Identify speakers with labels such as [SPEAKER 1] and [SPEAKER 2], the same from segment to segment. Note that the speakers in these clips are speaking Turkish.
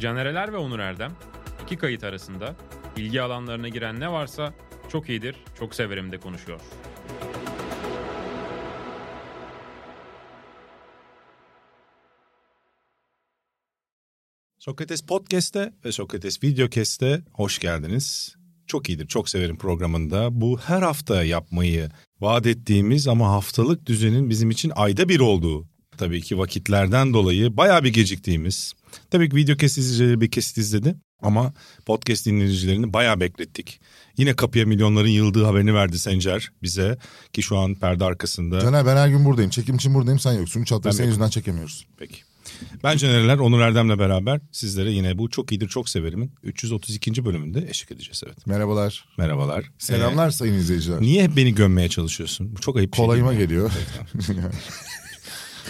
[SPEAKER 1] Canereler ve Onur Erdem iki kayıt arasında ilgi alanlarına giren ne varsa çok iyidir, çok severim de konuşuyor.
[SPEAKER 2] Sokrates Podcast'te ve Sokrates Videocast'te hoş geldiniz. Çok iyidir, çok severim programında. Bu her hafta yapmayı vaat ettiğimiz ama haftalık düzenin bizim için ayda bir olduğu. Tabii ki vakitlerden dolayı bayağı bir geciktiğimiz. Tabii ki Videocast izleyicileri bir kesit izledi ama podcast dinleyicilerini bayağı beklettik. Yine kapıya milyonların yıldığı haberini verdi Sencer bize ki şu an perde arkasında.
[SPEAKER 3] Caner ben her gün buradayım. Çekim için buradayım sen yoksun. Üç hafta
[SPEAKER 2] Ben
[SPEAKER 3] senin
[SPEAKER 2] yokum.
[SPEAKER 3] yüzünden çekemiyoruz.
[SPEAKER 2] Peki. Ben Canereler, Onur Erdem'le beraber sizlere yine bu Çok iyidir Çok Severim'in 332. bölümünde eşlik edeceğiz. Evet.
[SPEAKER 3] Merhabalar.
[SPEAKER 2] Merhabalar.
[SPEAKER 3] Selamlar sayın izleyiciler.
[SPEAKER 2] Ee, niye hep beni gömmeye çalışıyorsun? Bu çok ayıp bir şey.
[SPEAKER 3] Kolayıma
[SPEAKER 2] değil mi?
[SPEAKER 3] geliyor.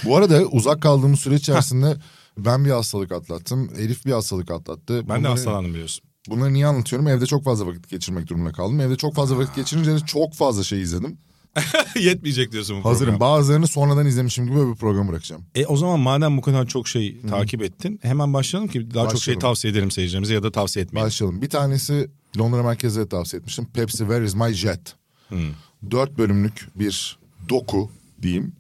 [SPEAKER 3] Bu arada uzak kaldığımız süre içerisinde ben bir hastalık atlattım. Elif bir hastalık atlattı.
[SPEAKER 2] Ben de
[SPEAKER 3] Bunları-
[SPEAKER 2] hastalandım biliyorsun.
[SPEAKER 3] Bunları niye anlatıyorum? Evde çok fazla vakit geçirmek durumunda kaldım. Evde çok fazla vakit geçirince de çok fazla şey izledim.
[SPEAKER 2] Yetmeyecek diyorsun bu
[SPEAKER 3] Hazırım.
[SPEAKER 2] program.
[SPEAKER 3] Bazılarını sonradan izlemişim gibi bir program bırakacağım.
[SPEAKER 2] E, o zaman madem bu kadar çok şey takip ettin hemen başlayalım ki daha çok şey
[SPEAKER 3] Başlayalım.
[SPEAKER 2] tavsiye ederim seyircilerimize ya da tavsiye etmeyelim.
[SPEAKER 3] Başlayalım. Bir tanesi Londra merkezde de tavsiye etmiştim. Pepsi Where is my jet?
[SPEAKER 2] Hmm.
[SPEAKER 3] Dört bölümlük bir doku diyeyim.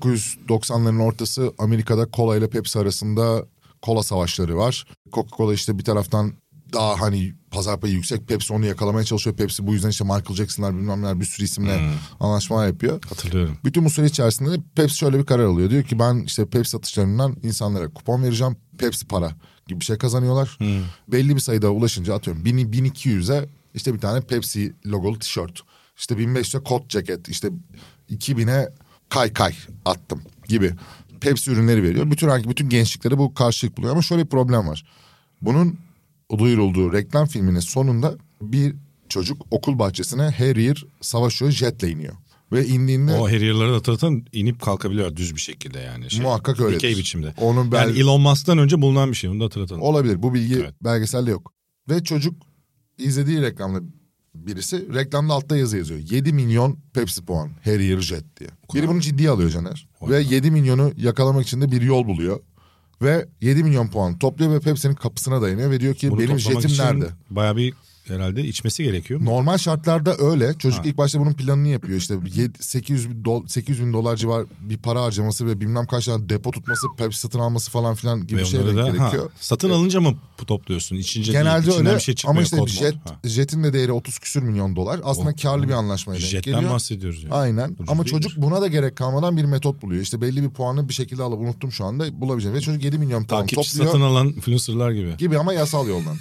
[SPEAKER 3] 1990'ların ortası Amerika'da kola ile Pepsi arasında kola savaşları var. Coca-Cola işte bir taraftan daha hani pazar payı yüksek Pepsi onu yakalamaya çalışıyor. Pepsi bu yüzden işte Michael Jackson'lar bilmem neler bir sürü isimle anlaşmalar yapıyor.
[SPEAKER 2] Hmm. Hatırlıyorum.
[SPEAKER 3] Bütün bu süre içerisinde de Pepsi şöyle bir karar alıyor. Diyor ki ben işte Pepsi satışlarından insanlara kupon vereceğim. Pepsi para gibi bir şey kazanıyorlar. Belli bir sayıda ulaşınca atıyorum 1000 1200'e işte bir tane Pepsi logolu tişört. İşte 1500'e kot ceket. işte 2000'e kay kay attım gibi. Pepsi ürünleri veriyor. Bütün bütün gençliklere bu karşılık buluyor ama şöyle bir problem var. Bunun duyurulduğu reklam filminin sonunda bir çocuk okul bahçesine her yer savaşıyor jetle iniyor. Ve indiğinde
[SPEAKER 2] O Harrier'ları da hatırlatan inip kalkabiliyor düz bir şekilde yani. Şey,
[SPEAKER 3] Muhakkak öyledir.
[SPEAKER 2] Dikey biçimde.
[SPEAKER 3] Onun bel-
[SPEAKER 2] Yani Elon Musk'tan önce bulunan bir şey bunu da hatırlatalım.
[SPEAKER 3] Olabilir. Bu bilgi
[SPEAKER 2] Evet.
[SPEAKER 3] belgeselde yok. Ve çocuk izlediği reklamda birisi reklamda altta yazı yazıyor. 7 milyon Pepsi puan her year jet diye. Biri bunu ciddiye alıyor Caner. Ve 7 milyonu yakalamak için de bir yol buluyor. Ve 7 milyon puan topluyor ve Pepsi'nin kapısına dayanıyor ve diyor ki
[SPEAKER 2] Bunu
[SPEAKER 3] benim
[SPEAKER 2] toplamak
[SPEAKER 3] jetim
[SPEAKER 2] için
[SPEAKER 3] nerede?
[SPEAKER 2] Bayağı bir herhalde içmesi gerekiyor.
[SPEAKER 3] Normal şartlarda öyle. Çocuk ilk başta bunun planını yapıyor. İşte yed- 800 bin, dol- 800 bin dolar civar bir para harcaması ve bilmem kaç tane depo tutması, Pepsi satın alması falan filan gibi
[SPEAKER 2] Ve
[SPEAKER 3] şeyler
[SPEAKER 2] onları da ha,
[SPEAKER 3] gerekiyor.
[SPEAKER 2] satın alınca mı bu topluyorsun? İçince
[SPEAKER 3] Genelde
[SPEAKER 2] değil,
[SPEAKER 3] öyle
[SPEAKER 2] bir şey çıkmıyor.
[SPEAKER 3] ama işte
[SPEAKER 2] kod mu?
[SPEAKER 3] jet,
[SPEAKER 2] Ha.
[SPEAKER 3] jetin de değeri 30 küsür milyon dolar. Aslında
[SPEAKER 2] O-
[SPEAKER 3] karlı bir anlaşmaya denk
[SPEAKER 2] Jetten
[SPEAKER 3] geliyor.
[SPEAKER 2] bahsediyoruz yani.
[SPEAKER 3] Aynen
[SPEAKER 2] Ucuz
[SPEAKER 3] ama
[SPEAKER 2] değildir.
[SPEAKER 3] çocuk buna da gerek kalmadan bir metot buluyor. İşte belli bir puanı bir şekilde alıp unuttum şu anda bulabileceğim. Ve çocuk 7 milyon puan
[SPEAKER 2] Takipçi
[SPEAKER 3] topluyor
[SPEAKER 2] satın alan influencerlar gibi.
[SPEAKER 3] gibi ama yasal yoldan.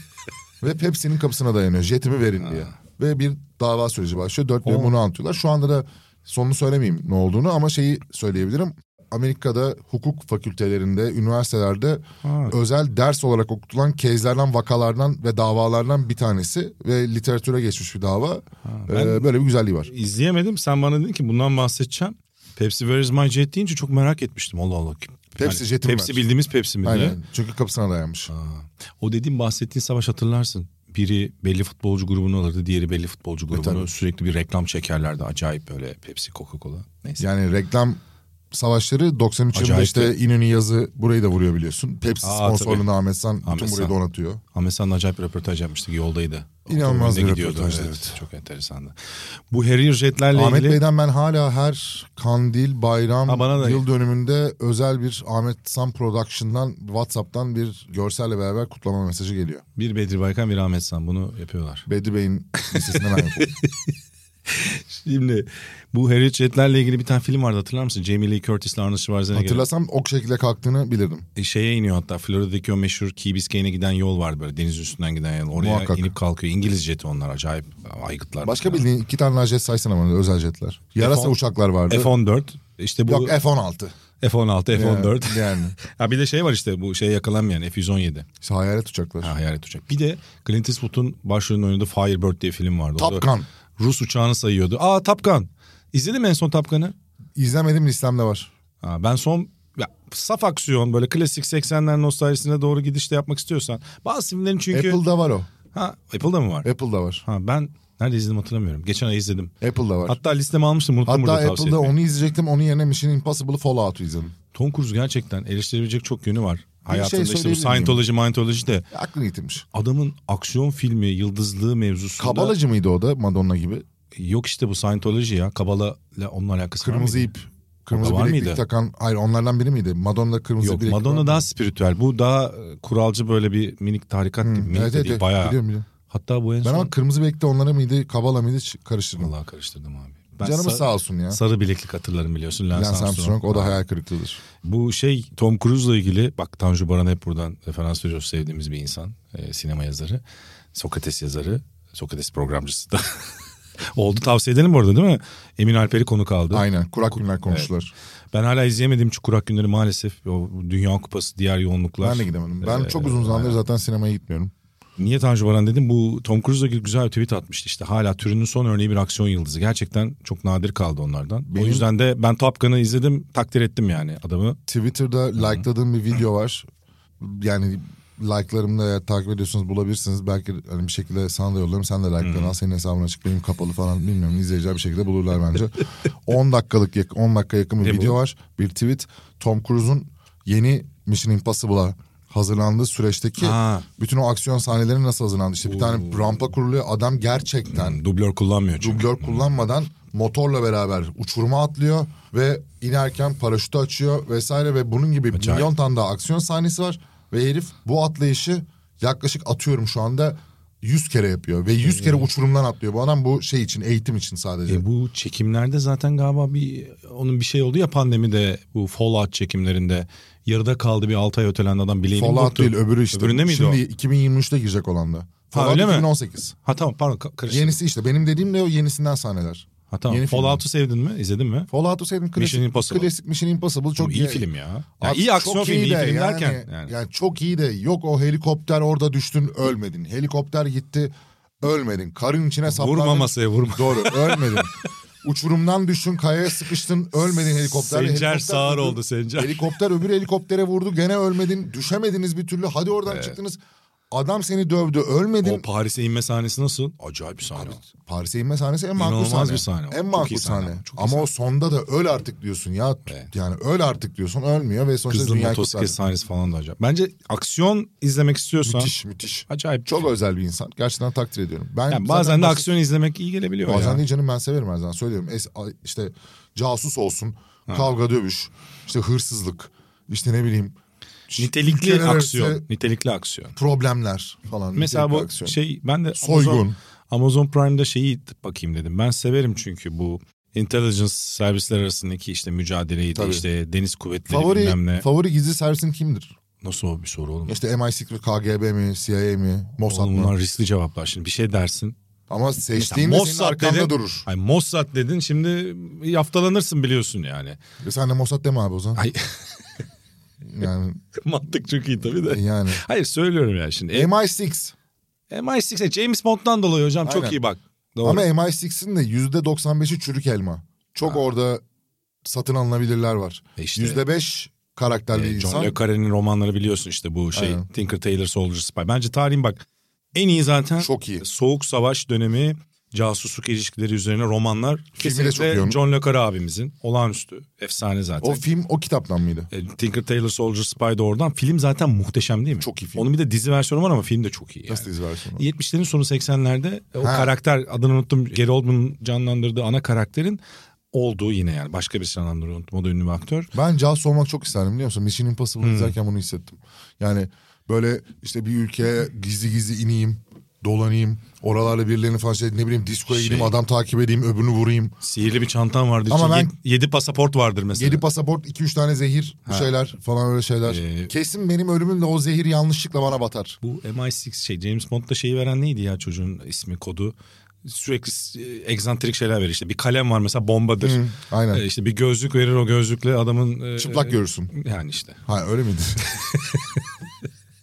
[SPEAKER 3] ve Pepsi'nin kapısına dayanıyor jetimi verin diye. Ve bir dava süreci başlıyor. 4
[SPEAKER 2] Oh.
[SPEAKER 3] milyon bunu anlatıyorlar. Şu anda da sonunu söylemeyeyim ne olduğunu ama şeyi söyleyebilirim. Amerika'da hukuk fakültelerinde, üniversitelerde
[SPEAKER 2] Ha.
[SPEAKER 3] özel ders olarak okutulan kezlerden, vakalardan ve davalardan bir tanesi ve literatüre geçmiş bir dava. Ee, böyle bir güzelliği var.
[SPEAKER 2] İzleyemedim. Sen bana dedin ki bundan bahsedeceğim. Pepsi Where is my jet deyince çok merak etmiştim. Allah Allah.
[SPEAKER 3] Pepsi jeti mi
[SPEAKER 2] Pepsi
[SPEAKER 3] vermiş?
[SPEAKER 2] bildiğimiz Pepsi mi diye.
[SPEAKER 3] Aynen. Çünkü kapısına dayanmış.
[SPEAKER 2] O dediğim bahsettiğin savaş hatırlarsın. Biri belli futbolcu grubunu alırdı. Diğeri belli futbolcu grubunu.
[SPEAKER 3] E, tabii.
[SPEAKER 2] Sürekli bir reklam çekerlerdi. Acayip böyle Pepsi, Coca-Cola. Neyse.
[SPEAKER 3] Yani reklam savaşları 93 yılında
[SPEAKER 2] Acayip
[SPEAKER 3] işte İnönü yazı burayı da vuruyor biliyorsun. Pepsi
[SPEAKER 2] Aa,
[SPEAKER 3] sponsorluğunu
[SPEAKER 2] tabii.
[SPEAKER 3] Ahmet San bütün
[SPEAKER 2] Ahmet
[SPEAKER 3] burayı
[SPEAKER 2] San.
[SPEAKER 3] donatıyor.
[SPEAKER 2] Ahmet San'la acayip bir röportaj yapmıştık. Yoldaydı.
[SPEAKER 3] İnanılmaz
[SPEAKER 2] Otomobilde
[SPEAKER 3] bir
[SPEAKER 2] gidiyordu,
[SPEAKER 3] röportaj,
[SPEAKER 2] Evet.
[SPEAKER 3] evet.
[SPEAKER 2] Çok enteresandı. Bu Harrier jetlerle
[SPEAKER 3] Ahmet
[SPEAKER 2] ilgili...
[SPEAKER 3] Bey'den ben hala her kandil, bayram,
[SPEAKER 2] Ha, bana da-
[SPEAKER 3] yıl dönümünde özel bir Ahmet San Production'dan Whatsapp'tan bir görselle beraber kutlama mesajı geliyor.
[SPEAKER 2] Bir Bedri Baykan bir Ahmet San bunu yapıyorlar.
[SPEAKER 3] Bedri Bey'in listesinden ben yapıyorum.
[SPEAKER 2] Şimdi bu Harrier jetlerle ilgili bir tane film vardı hatırlar mısın? Jamie Lee Curtis'le Arnold Schwarzenegger.
[SPEAKER 3] Hatırlasam ok şekilde kalktığını bilirdim.
[SPEAKER 2] E, şeye iniyor hatta Florida'daki o meşhur Key Biscayne'e giden yol var böyle deniz üstünden giden yol. Oraya
[SPEAKER 3] Muhakkak.
[SPEAKER 2] inip kalkıyor. İngiliz jeti onlar acayip aygıtlar.
[SPEAKER 3] Başka bildiğin iki tane daha jet saysana bana özel jetler. Yarasa
[SPEAKER 2] F10
[SPEAKER 3] uçaklar vardı.
[SPEAKER 2] F-14 işte bu
[SPEAKER 3] Yok e- F-16.
[SPEAKER 2] F-16, F-14.
[SPEAKER 3] Yani, yani.
[SPEAKER 2] ha bir de şey var işte bu şeye yakalanmayan F-117.
[SPEAKER 3] İşte hayalet uçaklar.
[SPEAKER 2] Ha, hayalet uçak. Bir de Clint Eastwood'un başrolünde oynadığı Firebird diye film vardı.
[SPEAKER 3] Top
[SPEAKER 2] Orada
[SPEAKER 3] Gun.
[SPEAKER 2] Rus uçağını sayıyordu. Aa Top Gun. İzledin mi en son Top Gun'ı?
[SPEAKER 3] İzlemedim listemde var.
[SPEAKER 2] Ha, ben son ya, saf aksiyon böyle klasik 80'ler nostaljisine doğru gidişle yapmak istiyorsan. Bazı filmlerin çünkü...
[SPEAKER 3] Apple'da var o.
[SPEAKER 2] Ha, Apple'da mı var?
[SPEAKER 3] Apple'da var.
[SPEAKER 2] Ha ben nerede izledim hatırlamıyorum. Geçen ay izledim.
[SPEAKER 3] Apple'da var.
[SPEAKER 2] Hatta listeme almıştım unuttum
[SPEAKER 3] Hatta
[SPEAKER 2] burada tavsiye
[SPEAKER 3] Apple'da
[SPEAKER 2] etmeyi.
[SPEAKER 3] onu izleyecektim. Onun yerine Mission Impossible Fallout'u izledim.
[SPEAKER 2] Tom Cruise gerçekten eleştirebilecek çok yönü var. Hayatında işte bu
[SPEAKER 3] şey söyleyebilir
[SPEAKER 2] Scientology, Mindology de
[SPEAKER 3] Aklını yitirmiş.
[SPEAKER 2] adamın aksiyon filmi yıldızlığı mevzusunda
[SPEAKER 3] Kabalacı mıydı o da Madonna gibi?
[SPEAKER 2] yok işte bu Scientology ya Kabala ile onun alakası var
[SPEAKER 3] Kırmızı
[SPEAKER 2] mıydı?
[SPEAKER 3] ip. Kırmızı
[SPEAKER 2] O da var
[SPEAKER 3] bileklik
[SPEAKER 2] mıydı?
[SPEAKER 3] takan. Hayır onlardan biri miydi? Madonna kırmızı
[SPEAKER 2] Yok
[SPEAKER 3] bileklik.
[SPEAKER 2] Madonna
[SPEAKER 3] var.
[SPEAKER 2] daha spiritüel. Bu daha e, kuralcı böyle bir minik tarikat gibi. Minik
[SPEAKER 3] Hmm, Evet,
[SPEAKER 2] de
[SPEAKER 3] evet,
[SPEAKER 2] değil,
[SPEAKER 3] evet.
[SPEAKER 2] bayağı.
[SPEAKER 3] Biliyorum, biliyorum.
[SPEAKER 2] Hatta bu en
[SPEAKER 3] Ben
[SPEAKER 2] son...
[SPEAKER 3] ama kırmızı bilekte onlara mıydı, kabala mıydı hiç karıştırmadım.
[SPEAKER 2] Vallahi karıştırdım abi. Ben
[SPEAKER 3] Canımız
[SPEAKER 2] sa-
[SPEAKER 3] sağ olsun ya.
[SPEAKER 2] Sarı bileklik hatırlarım biliyorsun. Lance,
[SPEAKER 3] Lance Armstrong.
[SPEAKER 2] Armstrong.
[SPEAKER 3] o da hayal kırıklığıdır.
[SPEAKER 2] Bu şey Tom Cruise'la ilgili bak Tanju Baran hep buradan referans veriyoruz sevdiğimiz bir insan. e, sinema yazarı. Sokrates yazarı. Sokrates programcısı da. Oldu tavsiye edelim bu arada değil mi? Emin Alper'i konuk aldı.
[SPEAKER 3] Aynen kurak günler konuştular.
[SPEAKER 2] Ben hala izleyemediğim Çukurak Günleri maalesef. O Dünya Kupası diğer yoğunluklar.
[SPEAKER 3] Ben de gidemedim. Ben
[SPEAKER 2] Ee,
[SPEAKER 3] çok uzun zamandır zaten sinemaya gitmiyorum.
[SPEAKER 2] Niye Tanju Baran dedim? Bu Tom Cruise'la ilgili güzel bir tweet atmıştı işte. Hala türünün son örneği bir aksiyon yıldızı. Gerçekten çok nadir kaldı onlardan. O
[SPEAKER 3] Benim-
[SPEAKER 2] yüzden de ben Top Gun'ı izledim. Takdir ettim yani adamı.
[SPEAKER 3] Twitter'da like'ladığım bir video var. Yani like'larımda eğer takip ediyorsanız bulabilirsiniz. Belki hani bir şekilde sana da yollarım. Sen de like'larını al. Senin hesabın açık. Benim kapalı falan bilmiyorum. İzleyiciler bir şekilde bulurlar bence. 10 dakikalık yak- 10 dakika yakın bir
[SPEAKER 2] Ne bu?
[SPEAKER 3] video var. Bir tweet. Tom Cruise'un yeni Mission Impossible'a hazırlandığı süreçteki
[SPEAKER 2] Ha.
[SPEAKER 3] bütün o aksiyon sahneleri nasıl hazırlandı? İşte bir tane rampa kuruluyor. Adam gerçekten
[SPEAKER 2] Dublör kullanmıyor çünkü.
[SPEAKER 3] dublör kullanmadan motorla beraber uçuruma atlıyor ve inerken paraşütü açıyor vesaire ve bunun gibi
[SPEAKER 2] Acayip.
[SPEAKER 3] milyon tane daha aksiyon sahnesi var ve herif bu atlayışı yaklaşık atıyorum şu anda 100 kere yapıyor ve 100 kere uçurumdan atlıyor. Bu adam bu şey için eğitim için sadece.
[SPEAKER 2] E bu çekimlerde zaten galiba bir onun bir şey oldu ya pandemide bu Fallout çekimlerinde yarıda kaldı bir 6 ay ötelendi adam bileğini
[SPEAKER 3] Fallout
[SPEAKER 2] burktu.
[SPEAKER 3] değil öbürü işte.
[SPEAKER 2] Öbüründe miydi
[SPEAKER 3] Şimdi
[SPEAKER 2] o?
[SPEAKER 3] 2023'te girecek olan da. Fallout
[SPEAKER 2] öyle mi?
[SPEAKER 3] 2018.
[SPEAKER 2] Ha tamam pardon ka- karıştırdım.
[SPEAKER 3] Yenisi işte benim dediğim de o yenisinden sahneler.
[SPEAKER 2] ha tamam.
[SPEAKER 3] yeni film.
[SPEAKER 2] Fallout'u sevdin mi? İzledin mi?
[SPEAKER 3] Fallout'u sevdim klasik.
[SPEAKER 2] Mission Impossible.
[SPEAKER 3] Klasik Mission Impossible çok
[SPEAKER 2] Çok iyi
[SPEAKER 3] ye-
[SPEAKER 2] film ya. ya
[SPEAKER 3] Abi
[SPEAKER 2] iyi
[SPEAKER 3] çok
[SPEAKER 2] aksiyon filmi, iyi
[SPEAKER 3] de
[SPEAKER 2] film
[SPEAKER 3] yani,
[SPEAKER 2] derken. Yani.
[SPEAKER 3] yani çok iyi de yok o helikopter orada düştün ölmedin. Helikopter gitti ölmedin. Karın içine saplandın.
[SPEAKER 2] vurma masaya vurma.
[SPEAKER 3] Doğru ölmedin. Uçurumdan düştün kayaya sıkıştın ölmedin helikopterle.
[SPEAKER 2] Sencer
[SPEAKER 3] Helikopter
[SPEAKER 2] sağır
[SPEAKER 3] öbür-
[SPEAKER 2] oldu Sencer.
[SPEAKER 3] Helikopter öbür helikoptere vurdu gene ölmedin. Düşemediniz bir türlü hadi oradan çıktınız. Adam seni dövdü ölmedin.
[SPEAKER 2] O Paris'e inme sahnesi nasıl? Acayip bir sahne.
[SPEAKER 3] Paris'e inme sahnesi en makul
[SPEAKER 2] İnanılmaz
[SPEAKER 3] sahne.
[SPEAKER 2] bir sahne o.
[SPEAKER 3] En
[SPEAKER 2] Çok
[SPEAKER 3] makul
[SPEAKER 2] iyi sahne
[SPEAKER 3] sahne.
[SPEAKER 2] ama, çok iyi
[SPEAKER 3] Ama
[SPEAKER 2] sahne.
[SPEAKER 3] o sonda da öl artık diyorsun ya.
[SPEAKER 2] Evet.
[SPEAKER 3] Yani öl artık diyorsun ölmüyor ve sonuçta
[SPEAKER 2] Kızıl
[SPEAKER 3] dünyayı
[SPEAKER 2] motosiklet
[SPEAKER 3] kurtardı.
[SPEAKER 2] sahnesi falan da acayip. Bence aksiyon izlemek istiyorsan
[SPEAKER 3] Müthiş müthiş.
[SPEAKER 2] acayip.
[SPEAKER 3] Çok özel bir insan. Gerçekten takdir ediyorum. Ben
[SPEAKER 2] yani
[SPEAKER 3] zaten
[SPEAKER 2] bazen de
[SPEAKER 3] bahset-
[SPEAKER 2] aksiyon izlemek iyi gelebiliyor
[SPEAKER 3] Bazen
[SPEAKER 2] ya.
[SPEAKER 3] değil canım ben severim her zaman. Söylüyorum Es- a- işte casus olsun, kavga dövüş, işte hırsızlık, işte ne bileyim
[SPEAKER 2] Nitelikli
[SPEAKER 3] ülkeler
[SPEAKER 2] aksiyon.
[SPEAKER 3] arası
[SPEAKER 2] Nitelikli aksiyon.
[SPEAKER 3] problemler falan.
[SPEAKER 2] Mesela bu
[SPEAKER 3] nitelikli aksiyon.
[SPEAKER 2] şey ben de
[SPEAKER 3] Soygun.
[SPEAKER 2] Amazon, Amazon Prime'da şeyi bakayım dedim. Ben severim çünkü bu intelligence servisler arasındaki işte mücadeleyi de
[SPEAKER 3] Tabii.
[SPEAKER 2] işte deniz kuvvetleri bilmem ne.
[SPEAKER 3] favori, favori gizli servisin kimdir?
[SPEAKER 2] Nasıl o bir soru oğlum?
[SPEAKER 3] İşte MI6 KGB mi, CIA mi, Mossad
[SPEAKER 2] Oğlum
[SPEAKER 3] mı?
[SPEAKER 2] bunlar riskli cevaplar. Şimdi bir şey dersin.
[SPEAKER 3] Ama seçtiğin de senin
[SPEAKER 2] Mossad
[SPEAKER 3] arkanda
[SPEAKER 2] dedin.
[SPEAKER 3] durur.
[SPEAKER 2] Ay Mossad dedin şimdi yaftalanırsın biliyorsun yani.
[SPEAKER 3] E sen de Mossad deme abi o zaman.
[SPEAKER 2] Ay
[SPEAKER 3] Yani,
[SPEAKER 2] mantık çok iyi tabii de.
[SPEAKER 3] yani.
[SPEAKER 2] Hayır söylüyorum yani şimdi.
[SPEAKER 3] MI6.
[SPEAKER 2] MI6 James Bond'dan dolayı hocam
[SPEAKER 3] Aynen.
[SPEAKER 2] çok iyi bak. Doğru.
[SPEAKER 3] Ama MI6'in de %95'i çürük elma. Çok orada satın alınabilirler var.
[SPEAKER 2] E işte.
[SPEAKER 3] %5 karakterli
[SPEAKER 2] Ee, John
[SPEAKER 3] insan.
[SPEAKER 2] le Carré'nin romanları biliyorsun işte bu şey
[SPEAKER 3] Aynen.
[SPEAKER 2] Tinker Tailor Soldier Spy. Bence tarihin bak en iyi zaten
[SPEAKER 3] Çok iyi.
[SPEAKER 2] Soğuk Savaş dönemi casusluk ilişkileri üzerine romanlar
[SPEAKER 3] çok
[SPEAKER 2] kesinlikle
[SPEAKER 3] iyi onun.
[SPEAKER 2] John le Carré abimizin olağanüstü efsane zaten.
[SPEAKER 3] O film o kitaptan mıydı?
[SPEAKER 2] E, Tinker Tailor Soldier Spy da oradan. Film zaten muhteşem değil mi?
[SPEAKER 3] Çok iyi film.
[SPEAKER 2] Onun bir de dizi versiyonu var ama film de çok iyi. Yani.
[SPEAKER 3] Nasıl dizi versiyonu?
[SPEAKER 2] 70'lerin sonu 80'lerde o
[SPEAKER 3] Ha.
[SPEAKER 2] karakter adını unuttum. Gary Oldman'ın canlandırdığı ana karakterin olduğu yine yani başka bir canlandırıyor unuttum. O da ünlü bir aktör.
[SPEAKER 3] Ben casus olmak çok isterdim biliyor musun? Mission Impossible'ı
[SPEAKER 2] Hmm.
[SPEAKER 3] izlerken bunu hissettim. Yani böyle işte bir ülkeye gizli gizli ineyim, dolanayım. Oralarla birilerini falan şey ne bileyim diskoya
[SPEAKER 2] Şey-
[SPEAKER 3] gideyim adam takip edeyim öbürünü vurayım.
[SPEAKER 2] Sihirli bir çantam vardır.
[SPEAKER 3] Ama
[SPEAKER 2] Ama
[SPEAKER 3] ben-
[SPEAKER 2] 7 pasaport vardır mesela.
[SPEAKER 3] Yedi pasaport, iki üç tane zehir, bir şeyler falan öyle şeyler.
[SPEAKER 2] Ee,
[SPEAKER 3] Kesin benim ölümümle o zehir yanlışlıkla bana batar.
[SPEAKER 2] Bu MI6 şey James Bond'da şeyi veren neydi ya çocuğun ismi kodu? Sürekli e, egzantrik şeyler verir işte. Bir kalem var mesela bombadır.
[SPEAKER 3] Hı, aynen.
[SPEAKER 2] E, işte bir gözlük verir o gözlükle adamın... e,
[SPEAKER 3] Çıplak görürsün.
[SPEAKER 2] Yani işte.
[SPEAKER 3] Ha öyle miydi?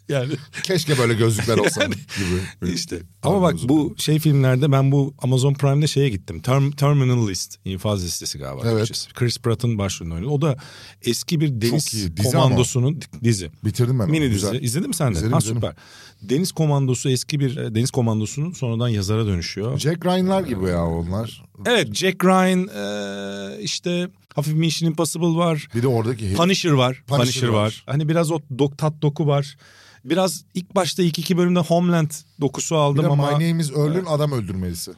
[SPEAKER 2] yani
[SPEAKER 3] Keşke böyle gözlükler olsa gibi.
[SPEAKER 2] işte. Ama bak bu şey filmlerde ben bu Amazon Prime'de şeye gittim. Term- Terminal List. infaz listesi galiba.
[SPEAKER 3] Evet.
[SPEAKER 2] Türkçesi. Chris Pratt'ın başrolünü oynuyor. O da eski bir deniz
[SPEAKER 3] iyi, dizi ama.
[SPEAKER 2] komandosunun dizi.
[SPEAKER 3] Bitirdim ben. onu,
[SPEAKER 2] Mini
[SPEAKER 3] güzel.
[SPEAKER 2] dizi. İzledin mi sen de?
[SPEAKER 3] İzledim,
[SPEAKER 2] ha,
[SPEAKER 3] izledim.
[SPEAKER 2] süper. Deniz komandosu eski bir e, deniz komandosunun sonradan yazara dönüşüyor.
[SPEAKER 3] Jack Ryan'lar gibi ya onlar.
[SPEAKER 2] evet Jack Ryan e, işte hafif Mission Impossible var.
[SPEAKER 3] Bir de oradaki herif.
[SPEAKER 2] Punisher var.
[SPEAKER 3] Punisher
[SPEAKER 2] Punisher,
[SPEAKER 3] var.
[SPEAKER 2] var. Hani biraz o dok, tat doku var. Biraz ilk başta ilk iki bölümde Homeland dokusu
[SPEAKER 3] bir
[SPEAKER 2] aldım
[SPEAKER 3] de
[SPEAKER 2] ama.
[SPEAKER 3] My Name is Earl'ün adam öldürmelisi.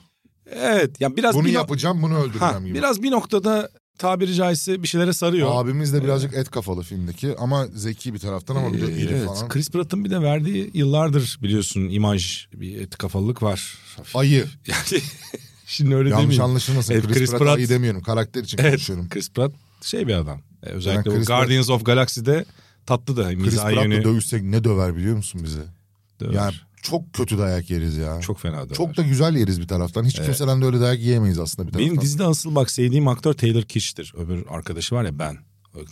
[SPEAKER 2] Evet. Ya biraz
[SPEAKER 3] Bunu
[SPEAKER 2] bir no-
[SPEAKER 3] yapacağım bunu öldüreceğim
[SPEAKER 2] Ha,
[SPEAKER 3] gibi.
[SPEAKER 2] biraz bir noktada tabiri caizse bir şeylere sarıyor.
[SPEAKER 3] Abimiz de birazcık et kafalı filmdeki ama zeki bir taraftan ama bir de
[SPEAKER 2] Ee,
[SPEAKER 3] iri
[SPEAKER 2] evet.
[SPEAKER 3] falan.
[SPEAKER 2] Chris Pratt'ın bir de verdiği yıllardır biliyorsun imaj bir et kafalılık var.
[SPEAKER 3] Ayı.
[SPEAKER 2] Yani şimdi öyle
[SPEAKER 3] Yanlış
[SPEAKER 2] demeyeyim.
[SPEAKER 3] anlaşılmasın.
[SPEAKER 2] Evet,
[SPEAKER 3] Chris,
[SPEAKER 2] Chris
[SPEAKER 3] Pratt,
[SPEAKER 2] Pratt-
[SPEAKER 3] ayı demiyorum. Karakter için
[SPEAKER 2] Evet,
[SPEAKER 3] konuşuyorum.
[SPEAKER 2] Chris Pratt şey bir adam. Ee, özellikle
[SPEAKER 3] Ben
[SPEAKER 2] bu
[SPEAKER 3] Chris Pratt-
[SPEAKER 2] Guardians of Galaxy'de tatlı da
[SPEAKER 3] Chris
[SPEAKER 2] mizah
[SPEAKER 3] Pratt'la
[SPEAKER 2] yönü.
[SPEAKER 3] dövüşsek ne döver biliyor musun bizi?
[SPEAKER 2] Döver.
[SPEAKER 3] Yani çok kötü dayak yeriz ya. Çok,
[SPEAKER 2] çok fena döver.
[SPEAKER 3] da güzel yeriz bir taraftan. Hiç kimseden de öyle dayak yiyemeyiz aslında bir taraftan.
[SPEAKER 2] Benim dizide asıl bak sevdiğim aktör Taylor Kitsch'tir. Öbür arkadaşı var ya ben.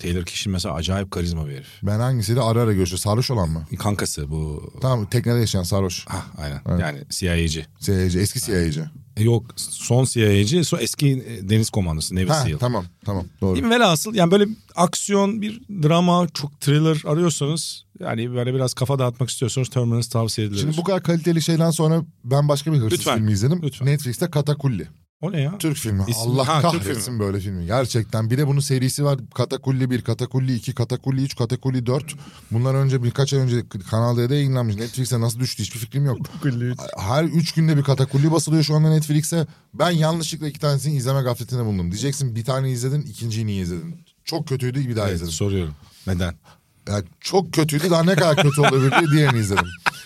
[SPEAKER 2] Taylor Kitsch'in mesela acayip karizma bir herif.
[SPEAKER 3] Ben hangisiyle ara ara görüşüyor? Sarhoş olan mı?
[SPEAKER 2] Kankası bu.
[SPEAKER 3] Tamam teknede yaşayan sarhoş.
[SPEAKER 2] Ah aynen. Yani CIA'ci.
[SPEAKER 3] CIA'ci, eski CIA'ci.
[SPEAKER 2] E, Yok son CIA'ci so eski e, deniz komandosu Navy
[SPEAKER 3] Ha
[SPEAKER 2] SEAL.
[SPEAKER 3] tamam tamam doğru.
[SPEAKER 2] Değil mi? Velhasıl yani böyle aksiyon bir drama çok thriller arıyorsanız yani böyle biraz kafa dağıtmak istiyorsanız Terminus tavsiye edilir.
[SPEAKER 3] Şimdi bu kadar kaliteli şeyden sonra ben başka bir hırsız
[SPEAKER 2] Lütfen.
[SPEAKER 3] filmi izledim.
[SPEAKER 2] Lütfen.
[SPEAKER 3] Netflix'te Katakulli.
[SPEAKER 2] O ne ya?
[SPEAKER 3] Türk filmi.
[SPEAKER 2] İsmi-
[SPEAKER 3] Allah
[SPEAKER 2] Ha, Türk
[SPEAKER 3] kahretsin böyle filmi. Gerçekten. Bir de bunun serisi var. Katakulli 1, Katakulli 2, Katakulli 3, Katakulli 4. Bunlar önce birkaç ay önce Kanal D'de yayınlanmış. Netflix'e nasıl düştü hiçbir fikrim yok. Her üç günde bir Katakulli basılıyor şu anda Netflix'e. Ben yanlışlıkla iki tanesini izleme gafletinde bulundum. Diyeceksin bir tane izledin, ikinciyi niye izledin? Çok kötüydü bir daha
[SPEAKER 2] Evet,
[SPEAKER 3] izledim.
[SPEAKER 2] soruyorum. Neden?
[SPEAKER 3] Yani çok kötüydü daha ne kadar kötü olabilir diye diğerini izledim.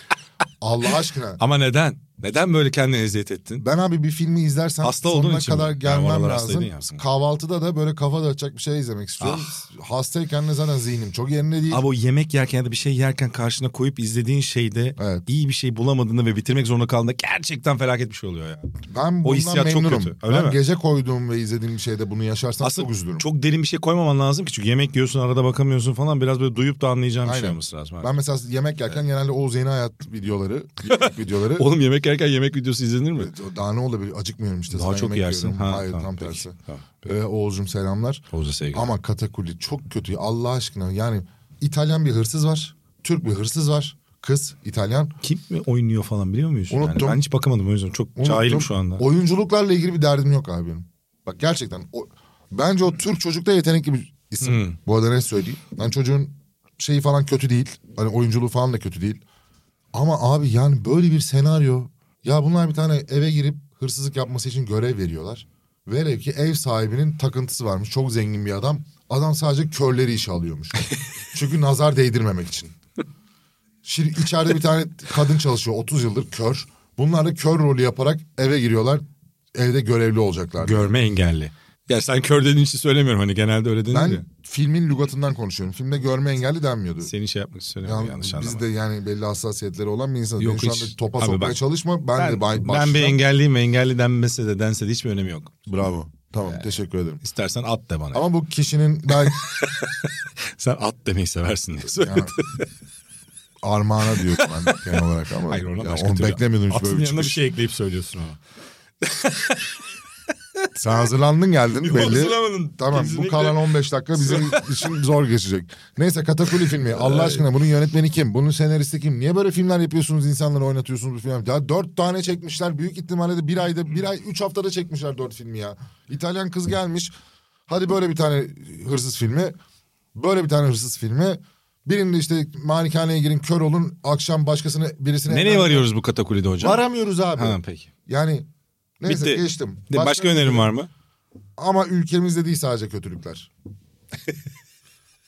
[SPEAKER 3] Allah aşkına.
[SPEAKER 2] Ama neden? Neden böyle kendini eziyet ettin?
[SPEAKER 3] Ben abi bir filmi izlersem
[SPEAKER 2] Hasta olduğun
[SPEAKER 3] sonuna
[SPEAKER 2] için mi?
[SPEAKER 3] kadar
[SPEAKER 2] Yani
[SPEAKER 3] gelmem
[SPEAKER 2] oralar
[SPEAKER 3] lazım.
[SPEAKER 2] hastaydın ya aslında. Ah.
[SPEAKER 3] Kahvaltıda da böyle kafa dağıtacak bir şey izlemek istiyorum. Hastayken de zaten zihnim çok yerinde değil.
[SPEAKER 2] Abi o yemek yerken ya da bir şey yerken karşına koyup izlediğin şeyde
[SPEAKER 3] Evet.
[SPEAKER 2] iyi bir şey bulamadığında ve bitirmek zorunda kaldığında gerçekten felaket bir şey oluyor ya.
[SPEAKER 3] ben bundan
[SPEAKER 2] hissiyat çok
[SPEAKER 3] memnunum.
[SPEAKER 2] kötü, öyle
[SPEAKER 3] ben
[SPEAKER 2] mi?
[SPEAKER 3] gece koyduğum ve izlediğim bir şeyde bunu yaşarsam çok üzülürüm.
[SPEAKER 2] çok derin bir şey koymaman lazım ki çünkü yemek yiyorsun arada bakamıyorsun falan biraz böyle duyup da anlayacağın bir şey
[SPEAKER 3] Aynen.
[SPEAKER 2] olması lazım.
[SPEAKER 3] Ben mesela yemek yerken genelde Oğuz Yeni Hayat videoları, yemek videoları.
[SPEAKER 2] Oğlum yemek yerken yemek videosu izlenir mi?
[SPEAKER 3] Daha ne olabilir? Acıkmıyorum işte.
[SPEAKER 2] Daha
[SPEAKER 3] Sana
[SPEAKER 2] çok
[SPEAKER 3] yemek
[SPEAKER 2] yersin.
[SPEAKER 3] yiyorum.
[SPEAKER 2] Ha,
[SPEAKER 3] Hayır
[SPEAKER 2] tamam,
[SPEAKER 3] tam
[SPEAKER 2] peki.
[SPEAKER 3] tersi.
[SPEAKER 2] Tamam.
[SPEAKER 3] Ee, Oğuz'cum selamlar.
[SPEAKER 2] Oğuz'a sevgiler.
[SPEAKER 3] Ama Katakulli çok kötü. ya. Allah aşkına yani İtalyan bir hırsız var. Türk bir hırsız var. Kız İtalyan.
[SPEAKER 2] Kim mi oynuyor falan biliyor muyuz? Yani
[SPEAKER 3] Unuttum.
[SPEAKER 2] ben hiç bakamadım o yüzden çok cahilim
[SPEAKER 3] Unuttum.
[SPEAKER 2] şu anda.
[SPEAKER 3] Oyunculuklarla ilgili bir derdim yok abi benim. Bak gerçekten o, bence o Türk çocukta yetenekli bir isim.
[SPEAKER 2] Hmm.
[SPEAKER 3] Bu arada ne söyleyeyim? Ben çocuğun şeyi falan kötü değil. Hani oyunculuğu falan da kötü değil. Ama abi yani böyle bir senaryo. Ya bunlar bir tane eve girip hırsızlık yapması için görev veriyorlar. Velev ki ev sahibinin takıntısı varmış. Çok zengin bir adam. Adam sadece körleri işe alıyormuş. Çünkü nazar değdirmemek için. Şimdi içeride bir tane kadın çalışıyor 30 yıldır kör. Bunlar da kör rolü yaparak eve giriyorlar. Evde görevli olacaklar.
[SPEAKER 2] Görme engelli. Ya sen kör dediğin için söylemiyorum hani genelde öyle denir
[SPEAKER 3] ben
[SPEAKER 2] ya.
[SPEAKER 3] filmin lügatından konuşuyorum. Filmde görme engelli denmiyordu.
[SPEAKER 2] Senin şey yapmak istemiyorum
[SPEAKER 3] Yani
[SPEAKER 2] yanlış
[SPEAKER 3] biz
[SPEAKER 2] anlama.
[SPEAKER 3] de yani belli hassasiyetleri olan bir insanız.
[SPEAKER 2] Yok,
[SPEAKER 3] Beni şu
[SPEAKER 2] hiç.
[SPEAKER 3] anda topa
[SPEAKER 2] Abi
[SPEAKER 3] sokmaya
[SPEAKER 2] bak,
[SPEAKER 3] çalışma. Ben, de
[SPEAKER 2] ben,
[SPEAKER 3] bay,
[SPEAKER 2] ben bir
[SPEAKER 3] başlayacağım.
[SPEAKER 2] engelliyim engelli denmese de dense de hiçbir önemi yok.
[SPEAKER 3] Bravo. Tamam teşekkür ederim.
[SPEAKER 2] İstersen at de bana.
[SPEAKER 3] Ama bu kişinin ben
[SPEAKER 2] Sen at demeyi seversin diye söyledim.
[SPEAKER 3] yani, armağana diyorum ben de genel olarak ama.
[SPEAKER 2] Hayır ona
[SPEAKER 3] Ya
[SPEAKER 2] başka
[SPEAKER 3] onu
[SPEAKER 2] türlü-
[SPEAKER 3] beklemiyordum hiç
[SPEAKER 2] Atın
[SPEAKER 3] böyle bir
[SPEAKER 2] yanına bir
[SPEAKER 3] çıkış.
[SPEAKER 2] şey ekleyip söylüyorsun ona.
[SPEAKER 3] Sen hazırlandın geldin belli.
[SPEAKER 2] Hazırlamadın.
[SPEAKER 3] Tamam bu
[SPEAKER 2] Kesinlikle.
[SPEAKER 3] kalan 15 dakika bizim için zor geçecek. Neyse Katakuli filmi Allah aşkına bunun yönetmeni kim? Bunun senaristi kim? Niye böyle filmler yapıyorsunuz insanları oynatıyorsunuz bu filmler? Ya dört tane çekmişler büyük ihtimalle de bir ayda bir ay üç haftada çekmişler dört filmi ya. İtalyan kız gelmiş hadi böyle bir tane hırsız filmi böyle bir tane hırsız filmi. Birinde işte malikaneye girin kör olun akşam başkasını birisine...
[SPEAKER 2] Nereye varıyoruz bu katakulide hocam?
[SPEAKER 3] Varamıyoruz abi.
[SPEAKER 2] Ha peki.
[SPEAKER 3] Yani neyse
[SPEAKER 2] Bitti.
[SPEAKER 3] geçtim.
[SPEAKER 2] De, Başka,
[SPEAKER 3] şey
[SPEAKER 2] önerim var mı?
[SPEAKER 3] Ama ülkemizde değil sadece kötülükler.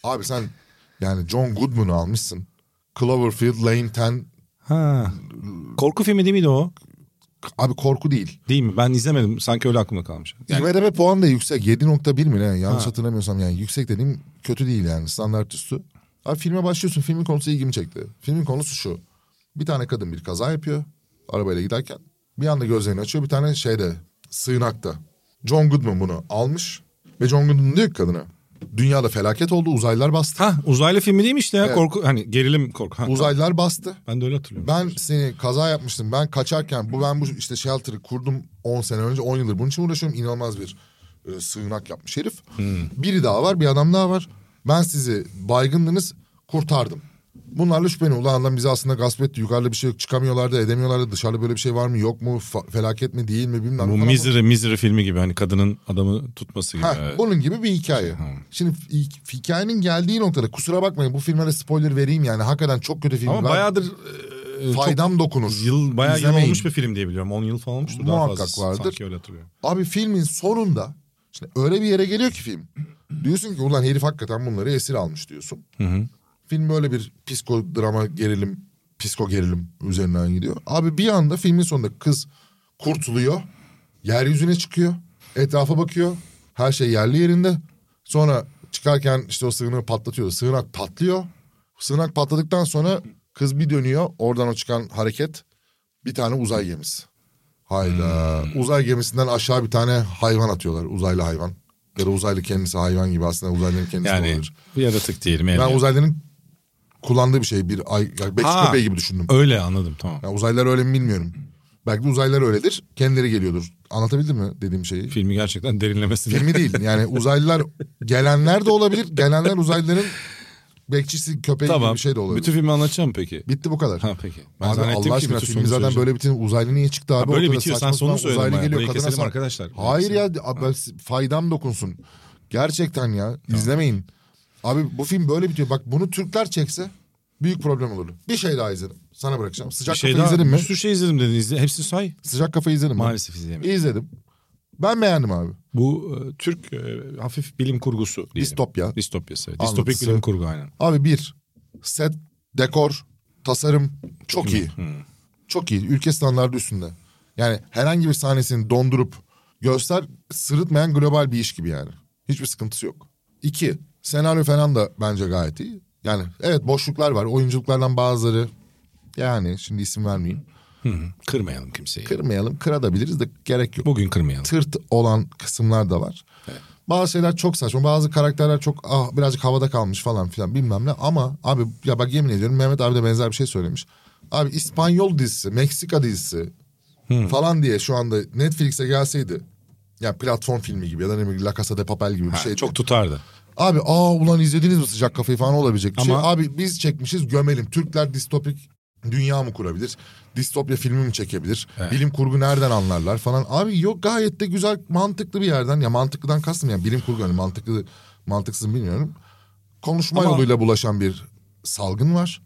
[SPEAKER 3] Abi sen yani John Goodman'ı almışsın. Cloverfield Lane 10.
[SPEAKER 2] Ha. Korku filmi değil miydi o?
[SPEAKER 3] Abi korku değil.
[SPEAKER 2] Değil mi? Ben izlemedim. Sanki öyle aklımda kalmış. Yani
[SPEAKER 3] IMDb puan da yüksek. 7.1 mi ne? Yanlış hatırlamıyorsam yani yüksek dediğim kötü değil yani standart üstü. Abi filme başlıyorsun. Filmin konusu ilgimi çekti. Filmin konusu şu. Bir tane kadın bir kaza yapıyor. Arabayla giderken. Bir anda gözlerini açıyor. Bir tane şeyde sığınakta. John Goodman bunu almış. Ve John Goodman diyor ki kadına. Dünyada felaket oldu. Uzaylılar bastı.
[SPEAKER 2] Ha uzaylı filmi değil mi işte ya?
[SPEAKER 3] Evet.
[SPEAKER 2] Korku hani gerilim korku. Ha,
[SPEAKER 3] Uzaylılar bastı.
[SPEAKER 2] Ben de öyle hatırlıyorum.
[SPEAKER 3] Ben seni kaza yapmıştım. Ben kaçarken bu ben bu işte shelter'ı kurdum 10 sene önce 10 yıldır bunun için uğraşıyorum. İnanılmaz bir e, sığınak yapmış herif.
[SPEAKER 2] Hmm.
[SPEAKER 3] Biri daha var bir adam daha var. Ben sizi baygındınız kurtardım. Bunlarla şüpheli ulan adam bizi aslında gasp etti. Yukarıda bir şey yok çıkamıyorlardı edemiyorlardı. Dışarıda böyle bir şey var mı yok mu Fa- felaket mi değil mi bilmem.
[SPEAKER 2] Bu
[SPEAKER 3] falan.
[SPEAKER 2] Misery, Misery filmi gibi hani kadının adamı tutması gibi.
[SPEAKER 3] Heh,
[SPEAKER 2] Evet.
[SPEAKER 3] Bunun gibi bir hikaye. Şimdi hi- hikayenin geldiği noktada kusura bakmayın bu filmlere spoiler vereyim yani. Hakikaten çok kötü film.
[SPEAKER 2] Ama bayağıdır e, çok
[SPEAKER 3] faydam dokunur.
[SPEAKER 2] yıl bayağı yıl
[SPEAKER 3] İzlemeyin.
[SPEAKER 2] olmuş bir film diye biliyorum. 10 yıl falan olmuştur
[SPEAKER 3] Muhakkak
[SPEAKER 2] daha fazla.
[SPEAKER 3] vardır.
[SPEAKER 2] Sanki öyle hatırlıyorum.
[SPEAKER 3] Abi filmin sonunda işte öyle bir yere geliyor ki film. Diyorsun ki ulan herif hakikaten bunları esir almış diyorsun. Film böyle bir psikodrama gerilim, psiko gerilim üzerinden gidiyor. Abi bir anda filmin sonunda kız kurtuluyor. Yeryüzüne çıkıyor. Etrafa bakıyor. Her şey yerli yerinde. Sonra çıkarken işte o sığınağı patlatıyor. Sığınak patlıyor. Sığınak patladıktan sonra kız bir dönüyor. Oradan o çıkan hareket bir tane uzay gemisi. Hayda. Uzay gemisinden aşağı bir tane hayvan atıyorlar. Uzaylı hayvan. Ya da uzaylı kendisi hayvan gibi aslında uzaylıların kendisi de
[SPEAKER 2] Yani
[SPEAKER 3] olabilir.
[SPEAKER 2] yaratık diyelim.
[SPEAKER 3] Ben
[SPEAKER 2] Yani.
[SPEAKER 3] uzaylıların kullandığı bir şey. Bir ay, yani Bekçi
[SPEAKER 2] Ha.
[SPEAKER 3] köpeği gibi düşündüm.
[SPEAKER 2] Öyle anladım tamam.
[SPEAKER 3] Yani uzaylılar öyle mi bilmiyorum. Belki de uzaylılar öyledir. Kendileri geliyordur. Anlatabildim mi dediğim şeyi?
[SPEAKER 2] Filmi gerçekten derinlemesine.
[SPEAKER 3] Filmi değil. Yani uzaylılar gelenler de olabilir. Gelenler uzaylıların bekçisi köpeği gibi
[SPEAKER 2] tamam.
[SPEAKER 3] bir şey de olabilir.
[SPEAKER 2] Bütün filmi anlatacağım peki.
[SPEAKER 3] Bitti bu kadar.
[SPEAKER 2] Ha peki. Ben
[SPEAKER 3] Abi
[SPEAKER 2] zannettim
[SPEAKER 3] Allah
[SPEAKER 2] ki
[SPEAKER 3] aşkına
[SPEAKER 2] bütün
[SPEAKER 3] filmi
[SPEAKER 2] sonu
[SPEAKER 3] zaten
[SPEAKER 2] söyleyeceğim.
[SPEAKER 3] böyle bitin uzaylı niye çıktı abi?
[SPEAKER 2] Ha, böyle
[SPEAKER 3] Ortada
[SPEAKER 2] bitiyor. Sen
[SPEAKER 3] saçma
[SPEAKER 2] sonu
[SPEAKER 3] sapan
[SPEAKER 2] söyledin
[SPEAKER 3] uzaylı
[SPEAKER 2] bayağı.
[SPEAKER 3] geliyor,
[SPEAKER 2] Burayı
[SPEAKER 3] kadına
[SPEAKER 2] keselim
[SPEAKER 3] sar-
[SPEAKER 2] arkadaşlar.
[SPEAKER 3] Hayır ya abi, faydam dokunsun. Gerçekten ya izlemeyin. Abi bu film böyle bitiyor. Bak bunu Türkler çekse büyük problem olurdu. Bir şey daha izledim. Sana bırakacağım. Sıcak
[SPEAKER 2] Bir şey
[SPEAKER 3] kafa
[SPEAKER 2] daha,
[SPEAKER 3] izledin mi?
[SPEAKER 2] Bir sürü şey izledim dedin. İzle, hepsini say.
[SPEAKER 3] Sıcak kafa izledin mi?
[SPEAKER 2] Maalesef izleyemedim.
[SPEAKER 3] İzledim. Ben beğendim abi.
[SPEAKER 2] Bu e, Türk e, hafif bilim kurgusu diyelim.
[SPEAKER 3] Distopya.
[SPEAKER 2] Distopyası. evet.
[SPEAKER 3] Anlatısı.
[SPEAKER 2] Distopik bilim kurgu aynen.
[SPEAKER 3] Abi bir set, dekor, tasarım çok iyi. Çok iyi. Ülke standardı üstünde. Yani herhangi bir sahnesini dondurup göster sırıtmayan global bir iş gibi yani. Hiçbir sıkıntısı yok. İki, senaryo falan da bence gayet iyi. Yani evet boşluklar var. Oyunculuklardan bazıları yani şimdi isim vermeyeyim.
[SPEAKER 2] Kırmayalım kimseyi.
[SPEAKER 3] Kırmayalım, kırabiliriz de gerek yok
[SPEAKER 2] Bugün kırmayalım.
[SPEAKER 3] tırt olan kısımlar da var. Bazı şeyler çok saçma. Bazı karakterler çok ah, birazcık havada kalmış falan filan bilmem ne. Ama abi ya bak yemin ediyorum Mehmet abi de benzer bir şey söylemiş. Abi İspanyol dizisi, Meksika dizisi
[SPEAKER 2] Hmm.
[SPEAKER 3] falan diye şu anda Netflix'e gelseydi. Yani platform filmi gibi ya da ne bileyim La Casa de Papel gibi bir
[SPEAKER 2] Ha,
[SPEAKER 3] şey.
[SPEAKER 2] çok tutardı.
[SPEAKER 3] Abi aa ulan izlediniz mi sıcak kafayı falan olabilecek bir
[SPEAKER 2] Ama-
[SPEAKER 3] şey. Abi biz çekmişiz gömelim. Türkler distopik dünya mı kurabilir? Distopya filmi mi çekebilir? Bilim kurgu nereden anlarlar falan. Abi yok gayet de güzel mantıklı bir yerden. Ya mantıklıdan kastım yani bilim kurgu hani mantıklı mantıksız mı bilmiyorum. Konuşma
[SPEAKER 2] Ama-
[SPEAKER 3] yoluyla bulaşan bir salgın var.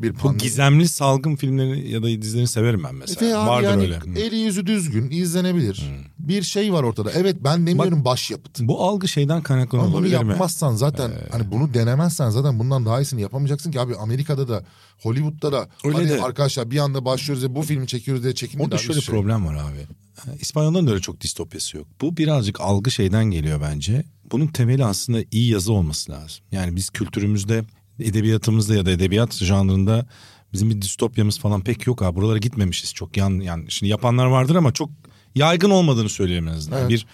[SPEAKER 3] Bir
[SPEAKER 2] Bu
[SPEAKER 3] pandemi.
[SPEAKER 2] gizemli salgın filmlerini ya da dizilerini severim ben mesela.
[SPEAKER 3] E, Ve abi
[SPEAKER 2] Vardır
[SPEAKER 3] yani
[SPEAKER 2] öyle. Hmm. Hı.
[SPEAKER 3] eli yüzü düzgün izlenebilir. Bir şey var ortada. Evet ben demiyorum başyapıt.
[SPEAKER 2] Bu algı şeyden kaynaklanıyor
[SPEAKER 3] Ama bunu
[SPEAKER 2] olabilir mi? Ee.
[SPEAKER 3] yapmazsan zaten hani bunu denemezsen zaten bundan daha iyisini yapamayacaksın ki abi Amerika'da da Hollywood'da da
[SPEAKER 2] Öyle
[SPEAKER 3] hani
[SPEAKER 2] de.
[SPEAKER 3] arkadaşlar bir anda başlıyoruz ya bu filmi çekiyoruz diye çekim
[SPEAKER 2] Orada
[SPEAKER 3] eden bir
[SPEAKER 2] şöyle
[SPEAKER 3] şey.
[SPEAKER 2] problem var abi. Ha, İspanyolların da öyle çok distopyası yok. Bu birazcık algı şeyden geliyor bence. Bunun temeli aslında iyi yazı olması lazım. Yani biz kültürümüzde, edebiyatımızda ya da edebiyat janrında bizim bir distopyamız falan pek yok abi. Buralara gitmemişiz çok. Yan, yani şimdi yapanlar vardır ama çok yaygın olmadığını söyleyeyim en azından.
[SPEAKER 3] Evet.
[SPEAKER 2] Bir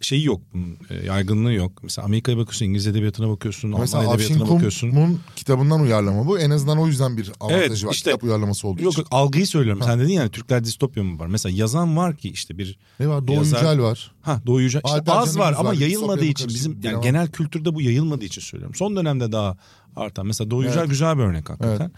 [SPEAKER 2] şeyi yok, bunun, e, yaygınlığı yok. Mesela Amerika'ya bakıyorsun, İngiliz edebiyatına bakıyorsun,
[SPEAKER 3] Mesela
[SPEAKER 2] Alman
[SPEAKER 3] Afşin
[SPEAKER 2] edebiyatına bakıyorsun.
[SPEAKER 3] Kum'un kitabından uyarlama bu. En azından o yüzden bir avantajı
[SPEAKER 2] Evet,
[SPEAKER 3] var.
[SPEAKER 2] işte-
[SPEAKER 3] Kitap uyarlaması olduğu
[SPEAKER 2] Yok
[SPEAKER 3] için.
[SPEAKER 2] yok algıyı söylüyorum. Sen dedin yani Türkler distopya mı var? Mesela yazan var ki işte bir
[SPEAKER 3] Ne var? Doğu
[SPEAKER 2] Yazar-
[SPEAKER 3] Yücel var.
[SPEAKER 2] Ha Doğu Yücel. İşte
[SPEAKER 3] Alper
[SPEAKER 2] az
[SPEAKER 3] Can'ın
[SPEAKER 2] var
[SPEAKER 3] yüz
[SPEAKER 2] ama
[SPEAKER 3] var.
[SPEAKER 2] yayılmadığı
[SPEAKER 3] Sofya'nın
[SPEAKER 2] için
[SPEAKER 3] karısı
[SPEAKER 2] bizim
[SPEAKER 3] bilemem.
[SPEAKER 2] yani genel kültürde bu yayılmadığı için söylüyorum. Son dönemde daha artan. Mesela Doğu Yücel güzel bir örnek hakikaten.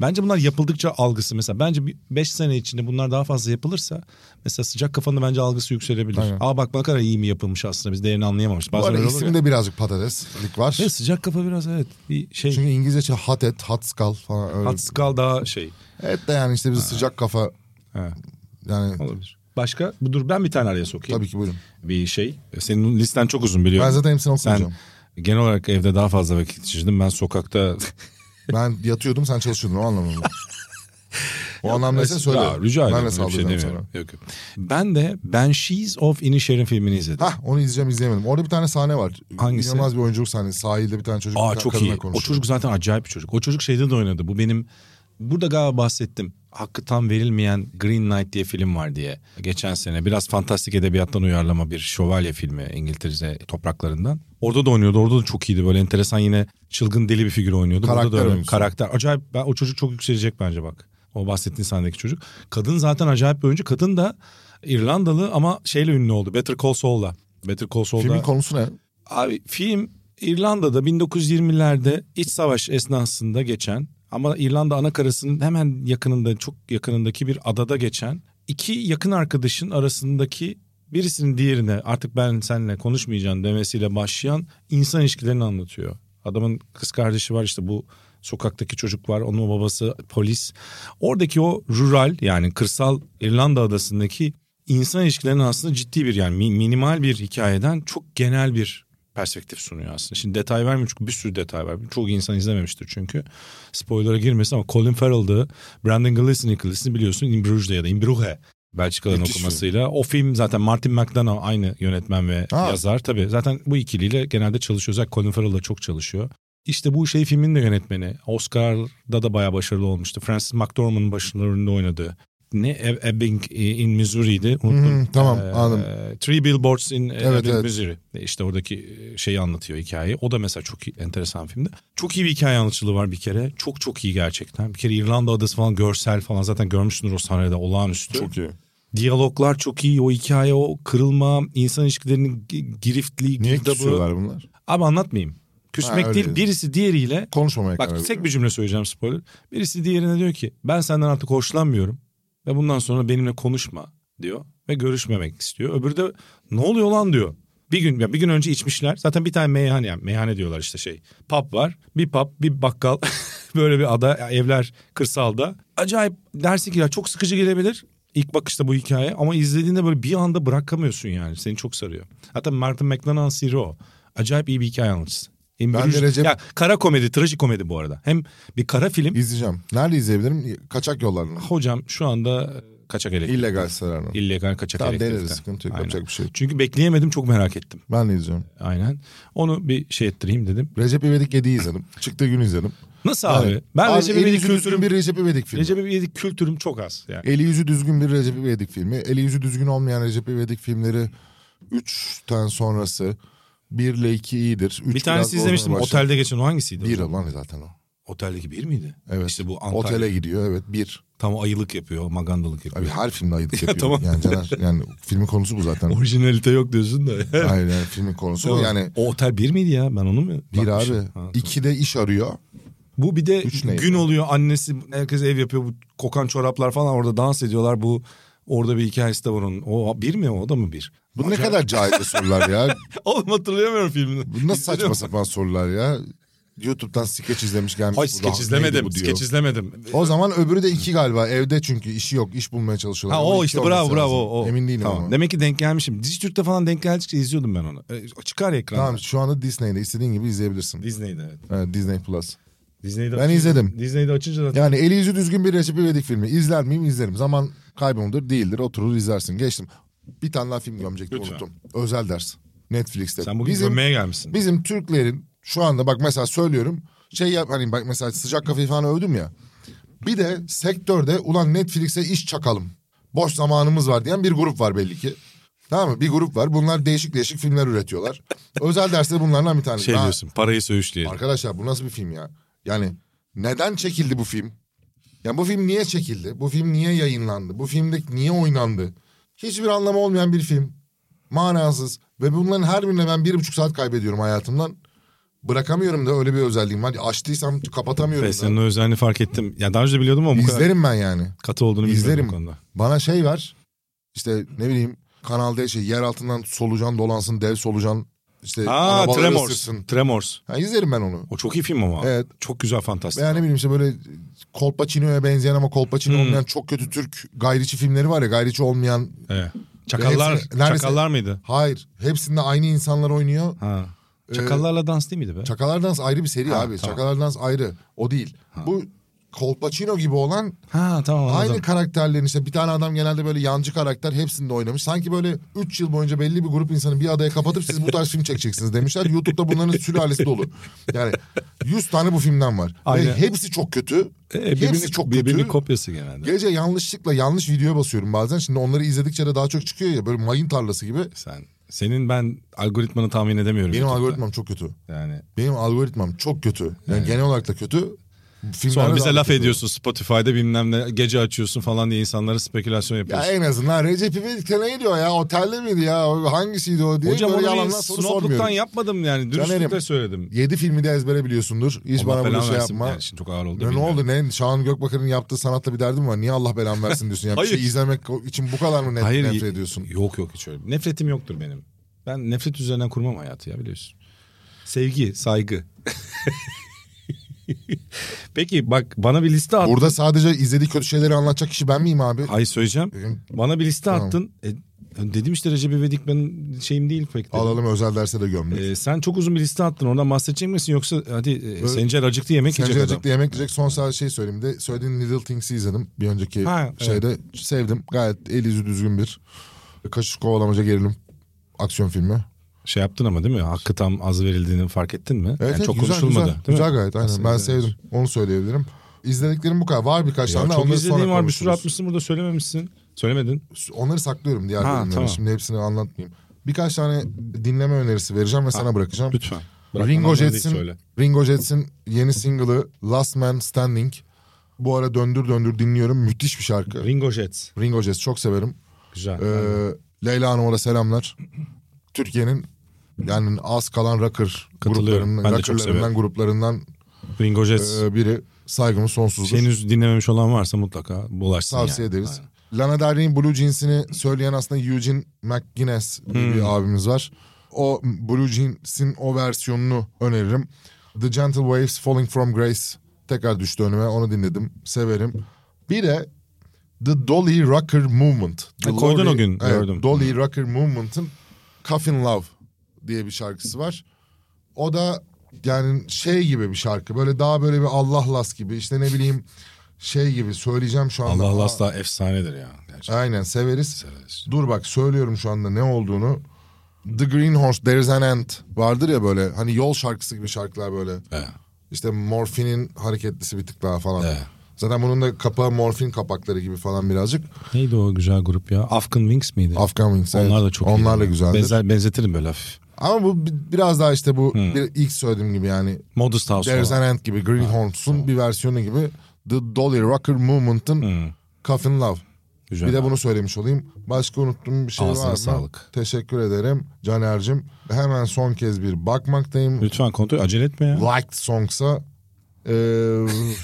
[SPEAKER 2] Bence bunlar yapıldıkça algısı mesela bence 5 sene içinde bunlar daha fazla yapılırsa mesela sıcak kafanın bence algısı yükselebilir.
[SPEAKER 3] Aynen.
[SPEAKER 2] Aa bak ne kadar iyi mi yapılmış aslında biz değerini anlayamamışız.
[SPEAKER 3] Bu
[SPEAKER 2] Bazen
[SPEAKER 3] arada
[SPEAKER 2] öyle oluyor.
[SPEAKER 3] isimde birazcık patateslik var.
[SPEAKER 2] Evet, sıcak kafa biraz evet bir şey.
[SPEAKER 3] Çünkü İngilizce hat et, hat skal falan öyle.
[SPEAKER 2] Hatskal daha şey
[SPEAKER 3] Evet de yani işte biz sıcak kafa
[SPEAKER 2] Ha.
[SPEAKER 3] yani
[SPEAKER 2] olabilir. Başka Bu dur ben bir tane araya sokayım.
[SPEAKER 3] tabii ki buyurun.
[SPEAKER 2] Bir şey. Senin listen çok uzun biliyorum.
[SPEAKER 3] Ben zaten hepsini
[SPEAKER 2] Sen
[SPEAKER 3] okuyacağım.
[SPEAKER 2] genel olarak evde daha fazla vakit geçirdin. Ben sokakta
[SPEAKER 3] Ben yatıyordum sen çalışıyordun o anlamda. o anlamda ise söyle.
[SPEAKER 2] Ya, rica ederim. öyle
[SPEAKER 3] Ben de
[SPEAKER 2] bir şey
[SPEAKER 3] saldıracağım
[SPEAKER 2] demiyorum. Yok, yok. Ben de Banshees of Inisherin filmini izledim.
[SPEAKER 3] Hah onu izleyeceğim izleyemedim. Orada bir tane sahne var.
[SPEAKER 2] Hangisi?
[SPEAKER 3] İnanılmaz bir oyunculuk sahnesi. Sahilde bir tane çocuk bir
[SPEAKER 2] Aa
[SPEAKER 3] tane
[SPEAKER 2] çok
[SPEAKER 3] kadınla
[SPEAKER 2] iyi. O
[SPEAKER 3] konuşuyor.
[SPEAKER 2] çocuk zaten acayip bir çocuk. O çocuk şeyde de oynadı. Bu benim burada galiba bahsettim. hakkı tam verilmeyen Green Knight diye film var diye. Geçen sene biraz fantastik edebiyattan uyarlama bir şövalye filmi İngiltere topraklarından. Orada da oynuyordu. Orada da çok iyiydi. Böyle enteresan yine çılgın deli bir figür oynuyordu. Burada
[SPEAKER 3] Karakter
[SPEAKER 2] da öyle.
[SPEAKER 3] oyuncusu.
[SPEAKER 2] Karakter. Acayip ben, o çocuk çok yükselecek bence bak. O bahsettiğin sahnedeki çocuk. Kadın zaten acayip bir oyuncu. Kadın da İrlandalı ama şeyle ünlü oldu. Better Call Saul'la. Better Call Saul'da.
[SPEAKER 3] Filmin konusu ne?
[SPEAKER 2] Abi film İrlanda'da 1920'lerde iç savaş esnasında geçen ama İrlanda anakarasının hemen yakınında çok yakınındaki bir adada geçen iki yakın arkadaşın arasındaki birisinin diğerine artık ben seninle konuşmayacağım demesiyle başlayan insan ilişkilerini anlatıyor. Adamın kız kardeşi var işte bu sokaktaki çocuk var onun babası polis. Oradaki o rural yani kırsal İrlanda adasındaki insan ilişkilerinin aslında ciddi bir yani mi- minimal bir hikayeden çok genel bir perspektif sunuyor aslında. Şimdi detay vermiyorum çünkü bir sürü detay var. Çoğu insan izlememiştir çünkü. Spoiler'a girmesin ama Colin Farrell'dı. Brandon Gleeson'ın ikilisini biliyorsun In Bruges'de ya da In Bruges. Belçikalı'nın
[SPEAKER 3] Müthiş film.
[SPEAKER 2] okumasıyla. O film zaten Martin McDonough aynı yönetmen ve
[SPEAKER 3] Ha.
[SPEAKER 2] yazar. Tabii zaten bu ikiliyle genelde çalışıyor. Özellikle Colin Farrell da çok çalışıyor. İşte bu şey filmin de yönetmeni. Oscar'da da bayağı başarılı olmuştu. Francis McDormand'ın başlarında oynadığı. Ne Eb- Ebbing e, in Missouri'ydi. Unuttum.
[SPEAKER 3] Hmm, tamam
[SPEAKER 2] Ee,
[SPEAKER 3] anladım.
[SPEAKER 2] Three Billboards in e,
[SPEAKER 3] Evet,
[SPEAKER 2] Ebbing,
[SPEAKER 3] evet.
[SPEAKER 2] Missouri. İşte oradaki e, şeyi anlatıyor hikayeyi. O da mesela çok iyi- enteresan filmde. Çok iyi bir hikaye anlatıcılığı var bir kere. Çok çok iyi gerçekten. Bir kere İrlanda adası falan görsel falan zaten görmüşsündür o sahnede olağanüstü.
[SPEAKER 3] Çok iyi.
[SPEAKER 2] Diyaloglar çok iyi. O hikaye, o kırılma, insan ilişkilerinin gi- giriftliği,
[SPEAKER 3] Niye
[SPEAKER 2] girdabı.
[SPEAKER 3] küsüyorlar bunlar?
[SPEAKER 2] Abi anlatmayayım. Küsmek
[SPEAKER 3] öyle.
[SPEAKER 2] değil birisi diğeriyle
[SPEAKER 3] Konuşmamaya karar
[SPEAKER 2] Bak
[SPEAKER 3] veriyor.
[SPEAKER 2] tek bir cümle söyleyeceğim spoiler. Birisi diğerine diyor ki ben senden artık hoşlanmıyorum ve bundan sonra benimle konuşma diyor ve görüşmemek istiyor. Öbürü de ne oluyor lan diyor. Bir gün ya bir gün önce içmişler. Zaten bir tane meyhane yani meyhane diyorlar işte şey. Pub var. Bir pub, bir bakkal. Böyle bir ada, evler kırsalda. Acayip dersin ki ya çok sıkıcı gelebilir. İlk bakışta bu hikaye ama izlediğinde böyle bir anda bırakamıyorsun yani. Seni çok sarıyor. Hatta Martin McDonagh'ın siri o. Acayip iyi bir hikaye anlatıcısı. Hem
[SPEAKER 3] Ben
[SPEAKER 2] bir-
[SPEAKER 3] de Recep-
[SPEAKER 2] Ya kara komedi, trajikomedi bu arada. Hem bir kara film.
[SPEAKER 3] İzleyeceğim. Nerede izleyebilirim? Kaçak yollarla.
[SPEAKER 2] Hocam şu anda kaçak elektrik.
[SPEAKER 3] İllegal sitelerle.
[SPEAKER 2] İllegal kaçak
[SPEAKER 3] Tamam
[SPEAKER 2] elektrikte.
[SPEAKER 3] deneriz sıkıntı yok
[SPEAKER 2] Aynen.
[SPEAKER 3] yapacak bir şey. yok.
[SPEAKER 2] Çünkü bekleyemedim çok merak ettim.
[SPEAKER 3] Ben de izleyeceğim.
[SPEAKER 2] Aynen. Onu bir şey ettireyim dedim.
[SPEAKER 3] Recep İvedik 7'yi izledim. Çıktığı gün izledim.
[SPEAKER 2] Nasıl
[SPEAKER 3] Yani-
[SPEAKER 2] abi? Ben
[SPEAKER 3] Abi,
[SPEAKER 2] Recep
[SPEAKER 3] eli
[SPEAKER 2] İvedik
[SPEAKER 3] yüzü düzgün
[SPEAKER 2] kültürüm...
[SPEAKER 3] bir Recep İvedik filmi.
[SPEAKER 2] Recep İvedik kültürüm çok az. Yani.
[SPEAKER 3] Eli yüzü düzgün bir Recep İvedik filmi. Eli yüzü düzgün olmayan Recep İvedik filmleri 3'ten sonrası 1 ile 2 iyidir. Üç
[SPEAKER 2] bir
[SPEAKER 3] biraz
[SPEAKER 2] tanesi izlemiştim.
[SPEAKER 3] bozmaya başladı.
[SPEAKER 2] Otelde geçen o hangisiydi?
[SPEAKER 3] Bir olan zaten o.
[SPEAKER 2] Oteldeki bir miydi?
[SPEAKER 3] Evet.
[SPEAKER 2] İşte bu Antalya.
[SPEAKER 3] Otele gidiyor evet bir.
[SPEAKER 2] Tam o ayılık yapıyor, o magandalık yapıyor.
[SPEAKER 3] Abi her filmde ayıp yapıyor.
[SPEAKER 2] tamam.
[SPEAKER 3] Yani Caner yani filmin konusu bu zaten.
[SPEAKER 2] Orijinalite yok diyorsun da.
[SPEAKER 3] Hayır yani filmin konusu bu.
[SPEAKER 2] Tamam.
[SPEAKER 3] yani
[SPEAKER 2] o otel bir miydi ya? Ben onu mu?
[SPEAKER 3] bir
[SPEAKER 2] bakmışım?
[SPEAKER 3] abi.
[SPEAKER 2] Ha,
[SPEAKER 3] iki de iş arıyor.
[SPEAKER 2] Bu bir de
[SPEAKER 3] Üç ne?
[SPEAKER 2] gün oluyor annesi herkes ev yapıyor bu kokan çoraplar falan orada dans ediyorlar bu orada bir hikayesi de var onun. O bir mi o da mı bir?
[SPEAKER 3] Bu ne kadar cahilce sorular ya.
[SPEAKER 2] Oğlum hatırlayamıyorum filmini.
[SPEAKER 3] Bu nasıl
[SPEAKER 2] İzledin
[SPEAKER 3] saçma
[SPEAKER 2] mi?
[SPEAKER 3] sapan sorular ya. YouTube'dan skeç izlemiş gelmiş.
[SPEAKER 2] Ay
[SPEAKER 3] bu da-
[SPEAKER 2] skeç
[SPEAKER 3] neydi
[SPEAKER 2] izlemedim.
[SPEAKER 3] bu diyor.
[SPEAKER 2] Skeç izlemedim.
[SPEAKER 3] O zaman öbürü de iki galiba. Evde çünkü işi yok. iş bulmaya çalışıyorlar.
[SPEAKER 2] Ha
[SPEAKER 3] Ama
[SPEAKER 2] o
[SPEAKER 3] iki
[SPEAKER 2] işte
[SPEAKER 3] olması
[SPEAKER 2] bravo bravo.
[SPEAKER 3] lazım.
[SPEAKER 2] O.
[SPEAKER 3] Emin değilim
[SPEAKER 2] tamam.
[SPEAKER 3] ama.
[SPEAKER 2] Demek ki denk gelmişim. Dijitürk'te falan denk geldikçe izliyordum ben onu. E, çıkar ya ekranda.
[SPEAKER 3] Tamam şu anda Disney'de istediğin gibi izleyebilirsin.
[SPEAKER 2] Disney'de evet.
[SPEAKER 3] Evet, Disney Plus.
[SPEAKER 2] Disney'de
[SPEAKER 3] Ben izledim.
[SPEAKER 2] Disney'de açınca zaten.
[SPEAKER 3] Yani eli yüzü düzgün bir Recep İvedik filmi. İzler miyim izlerim. Zaman kaybı mıdır? Değildir. Oturur izlersin. Geçtim. Bir tane daha film gömecektim
[SPEAKER 2] Lütfen.
[SPEAKER 3] unuttum. Özel ders. Netflix'te.
[SPEAKER 2] Sen bugün
[SPEAKER 3] Bizim-
[SPEAKER 2] gömmeye gelmişsin.
[SPEAKER 3] Bizim Türklerin şu anda bak mesela söylüyorum şey yap hani bak mesela sıcak kafayı falan övdüm ya. Bir de sektörde ulan Netflix'e iş çakalım. Boş zamanımız var diyen bir grup var belli ki. Tamam mı? Bir grup var. Bunlar değişik değişik filmler üretiyorlar. Özel derste bunlardan bir tanesi.
[SPEAKER 2] Şey
[SPEAKER 3] Ha,
[SPEAKER 2] diyorsun parayı söğüşleyelim.
[SPEAKER 3] Arkadaşlar bu nasıl bir film ya? Yani neden çekildi bu film? Ya bu film niye çekildi? Bu film niye yayınlandı? Bu filmde niye oynandı? Hiçbir anlamı olmayan bir film. Manasız. Ve bunların her birine ben bir buçuk saat kaybediyorum hayatımdan. Bırakamıyorum da öyle bir özelliğim var. Açtıysam kapatamıyorum
[SPEAKER 2] Ve senin
[SPEAKER 3] da.
[SPEAKER 2] o özelliğini fark ettim. Ya daha önce de biliyordum ama bu kadar
[SPEAKER 3] İzlerim ben yani.
[SPEAKER 2] katı olduğunu
[SPEAKER 3] İzlerim.
[SPEAKER 2] bilmiyordum bu konuda.
[SPEAKER 3] Bana şey ver. İşte ne bileyim kanalda şey yer altından solucan dolansın dev solucan işte
[SPEAKER 2] Aa
[SPEAKER 3] arabaları
[SPEAKER 2] Tremors.
[SPEAKER 3] Ee, ısırsın.
[SPEAKER 2] Tremors.
[SPEAKER 3] Ha, izlerim ben onu.
[SPEAKER 2] O çok iyi film ama.
[SPEAKER 3] Evet.
[SPEAKER 2] Çok güzel fantastik.
[SPEAKER 3] Veya ne bileyim işte böyle Kolpaçino'ya benzeyen ama
[SPEAKER 2] Hmm.
[SPEAKER 3] Kolpaçino olmayan çok kötü Türk gayriçi filmleri var ya gayriçi olmayan.
[SPEAKER 2] Evet. Çakallar.
[SPEAKER 3] Hepsi- neredeyse-
[SPEAKER 2] Çakallar mıydı?
[SPEAKER 3] Hayır hepsinde aynı insanlar oynuyor.
[SPEAKER 2] Ha.
[SPEAKER 3] Ee,
[SPEAKER 2] Çakallarla dans değil miydi be?
[SPEAKER 3] Çakalar Dans ayrı bir seri
[SPEAKER 2] Ha,
[SPEAKER 3] abi.
[SPEAKER 2] tamam.
[SPEAKER 3] Çakalar Dans ayrı. O değil. Bu Colpacino gibi olan
[SPEAKER 2] Ha tamam anladım.
[SPEAKER 3] aynı karakterlerin işte bir tane adam genelde böyle yancı karakter hepsinde oynamış. Sanki böyle 3 yıl boyunca belli bir grup insanı bir adaya kapatıp siz bu tarz film çekeceksiniz demişler. YouTube'da bunların sülalesi dolu. Yani 100 tane bu filmden var.
[SPEAKER 2] Aynen.
[SPEAKER 3] Ve hepsi çok kötü.
[SPEAKER 2] E,
[SPEAKER 3] hepsi çok kötü.
[SPEAKER 2] Birbirinin kopyası genelde.
[SPEAKER 3] Gece yanlışlıkla yanlış videoya basıyorum bazen. Şimdi onları izledikçe de daha çok çıkıyor ya böyle mayın tarlası gibi.
[SPEAKER 2] Sen senin ben algoritmanı tahmin edemiyorum.
[SPEAKER 3] Benim
[SPEAKER 2] YouTube'da.
[SPEAKER 3] algoritmam çok kötü.
[SPEAKER 2] yani.
[SPEAKER 3] Benim algoritmam çok kötü. Yani genel olarak da kötü. Filmlerde
[SPEAKER 2] Sonra
[SPEAKER 3] de
[SPEAKER 2] bize
[SPEAKER 3] daha
[SPEAKER 2] laf
[SPEAKER 3] kötü.
[SPEAKER 2] ediyorsun Spotify'da bilmem ne gece açıyorsun falan diye insanlara spekülasyon
[SPEAKER 3] Ya
[SPEAKER 2] yapıyorsun.
[SPEAKER 3] en azından Recep İvedik ne diyor ya otelde miydi ya o hangisiydi o diye
[SPEAKER 2] Hocam
[SPEAKER 3] böyle
[SPEAKER 2] onu
[SPEAKER 3] yalandan
[SPEAKER 2] bir
[SPEAKER 3] soru
[SPEAKER 2] snobluktan
[SPEAKER 3] sormuyorum.
[SPEAKER 2] yapmadım yani dürüstlükle
[SPEAKER 3] Canerim,
[SPEAKER 2] söyledim.
[SPEAKER 3] 7 filmi de ezbere biliyorsundur. Hiç
[SPEAKER 2] Allah
[SPEAKER 3] bana böyle
[SPEAKER 2] belanı
[SPEAKER 3] şey
[SPEAKER 2] versin.
[SPEAKER 3] yapma.
[SPEAKER 2] Yani şimdi çok ağır oldu.
[SPEAKER 3] Ya ne
[SPEAKER 2] bilmiyorum.
[SPEAKER 3] oldu ne? Şahan Gökbakar'ın yaptığı sanatla bir derdin var. Niye Allah belanı versin diyorsun? Ya bir
[SPEAKER 2] Hayır.
[SPEAKER 3] şey izlemek için bu kadar mı net,
[SPEAKER 2] Hayır,
[SPEAKER 3] nefret
[SPEAKER 2] y-
[SPEAKER 3] ediyorsun?
[SPEAKER 2] Yok yok hiç öyle. Nefretim yoktur benim. Ben nefret üzerinden kurmam hayatı ya biliyorsun. Sevgi, saygı. Peki bak bana bir liste attın.
[SPEAKER 3] Burada sadece izlediği kötü şeyleri anlatacak kişi ben miyim abi?
[SPEAKER 2] Hayır söyleyeceğim. Bana bir liste
[SPEAKER 3] Tamam.
[SPEAKER 2] attın. E, dedim işte Recep İvedik benim şeyim değil pek. dedim.
[SPEAKER 3] Alalım özel derse de gömlek.
[SPEAKER 2] E, sen çok uzun bir liste attın. Oradan bahsedecek misin yoksa hadi e, Sencer acıktı yemek
[SPEAKER 3] Sence
[SPEAKER 2] yiyecek adam.
[SPEAKER 3] acıklı yemek yiyecek. Son sadece şey söyleyeyim de söylediğin Little Things'i izledim. Bir önceki
[SPEAKER 2] Ha, evet.
[SPEAKER 3] şeyde sevdim. Gayet el yüzü düzgün bir kaşış kovalamaca gerilim aksiyon filmi.
[SPEAKER 2] Şey yaptın ama değil mi? Hakkı tam az verildiğini fark ettin mi?
[SPEAKER 3] Evet,
[SPEAKER 2] Yani
[SPEAKER 3] evet,
[SPEAKER 2] çok
[SPEAKER 3] güzel,
[SPEAKER 2] konuşulmadı.
[SPEAKER 3] Güzel,
[SPEAKER 2] değil mi?
[SPEAKER 3] güzel gayet aynen.
[SPEAKER 2] Aslında
[SPEAKER 3] ben
[SPEAKER 2] güzel.
[SPEAKER 3] sevdim. Onu söyleyebilirim. İzlediklerim bu kadar. Var birkaç
[SPEAKER 2] Ya
[SPEAKER 3] tane.
[SPEAKER 2] çok
[SPEAKER 3] onları
[SPEAKER 2] izlediğin
[SPEAKER 3] sonra
[SPEAKER 2] var bir sürü
[SPEAKER 3] konuşuruz.
[SPEAKER 2] atmışsın burada söylememişsin. Söylemedin.
[SPEAKER 3] Onları saklıyorum diğer
[SPEAKER 2] Ha,
[SPEAKER 3] bölümlere.
[SPEAKER 2] tamam.
[SPEAKER 3] Şimdi hepsini anlatmayayım. Birkaç tane dinleme önerisi vereceğim ve sana bırakacağım.
[SPEAKER 2] Lütfen.
[SPEAKER 3] Ringo Jets'in Ringo Jets'in yeni single'ı Last Man Standing. Bu ara döndür döndür dinliyorum. Müthiş bir şarkı.
[SPEAKER 2] Ringo Jets.
[SPEAKER 3] Ringo Jets çok severim.
[SPEAKER 2] Güzel.
[SPEAKER 3] Ee, Leyla Hanım'a da selamlar. Türkiye'nin yani az kalan rocker
[SPEAKER 2] Katılıyorum.
[SPEAKER 3] gruplarından,
[SPEAKER 2] Ben de çok
[SPEAKER 3] rockerlarından,
[SPEAKER 2] severim.
[SPEAKER 3] gruplarından
[SPEAKER 2] Ringo Jets. şey
[SPEAKER 3] e, biri saygımız sonsuzdur.
[SPEAKER 2] Henüz dinlememiş olan varsa mutlaka bulaşsın.
[SPEAKER 3] Tavsiye
[SPEAKER 2] yani.
[SPEAKER 3] ederiz.
[SPEAKER 2] Aynen.
[SPEAKER 3] Lana Del Rey'in Blue Jeans'ini söyleyen aslında Eugene McGuinness gibi
[SPEAKER 2] Hmm.
[SPEAKER 3] bir abimiz var. O Blue Jeans'in o versiyonunu öneririm. The Gentle Waves Falling From Grace tekrar düştü önüme. Onu dinledim. Severim. Bir de The Dolly Rocker Movement. The
[SPEAKER 2] Ha, koydun
[SPEAKER 3] Dolly-
[SPEAKER 2] o gün,
[SPEAKER 3] Evet,
[SPEAKER 2] gördüm.
[SPEAKER 3] Dolly Rocker Movement'ın Coffin Love diye bir şarkısı var. O da yani şey gibi bir şarkı. Böyle daha böyle bir Allah las gibi işte ne bileyim şey gibi söyleyeceğim şu anda.
[SPEAKER 2] Allah
[SPEAKER 3] Aa,
[SPEAKER 2] Las da efsanedir ya. Gerçekten.
[SPEAKER 3] Aynen severiz.
[SPEAKER 2] Severiz.
[SPEAKER 3] Dur bak söylüyorum şu anda ne olduğunu. The Green Horse There's an End vardır ya böyle hani yol şarkısı gibi şarkılar böyle.
[SPEAKER 2] Evet.
[SPEAKER 3] İşte morfinin hareketlisi bir tık daha falan.
[SPEAKER 2] Evet.
[SPEAKER 3] Zaten bunun da kapağı morfin kapakları gibi falan birazcık.
[SPEAKER 2] Neydi o güzel grup ya? Afghan Wings miydi?
[SPEAKER 3] Afgan Wings. evet.
[SPEAKER 2] Onlar da çok
[SPEAKER 3] Onlar da
[SPEAKER 2] iyi.
[SPEAKER 3] güzeldir.
[SPEAKER 2] Benzer, Hmm. benzetirim böyle hafif.
[SPEAKER 3] Ama bu bi- biraz daha işte bu bir ilk söylediğim gibi yani
[SPEAKER 2] Modest House
[SPEAKER 3] There's
[SPEAKER 2] falan.
[SPEAKER 3] an End gibi Green Horse'un bir versiyonu gibi The Dolly Rocker Movement'ın Coffin Love.
[SPEAKER 2] Hmm. Güzel
[SPEAKER 3] bir de
[SPEAKER 2] abi.
[SPEAKER 3] bunu söylemiş olayım. Başka unuttuğum bir şey
[SPEAKER 2] Ağzına
[SPEAKER 3] var mı?
[SPEAKER 2] sağlık.
[SPEAKER 3] Teşekkür ederim Caner'cim. Hemen son kez bir bakmaktayım.
[SPEAKER 2] Lütfen kontrol acele etme ya.
[SPEAKER 3] Liked Songs'a e,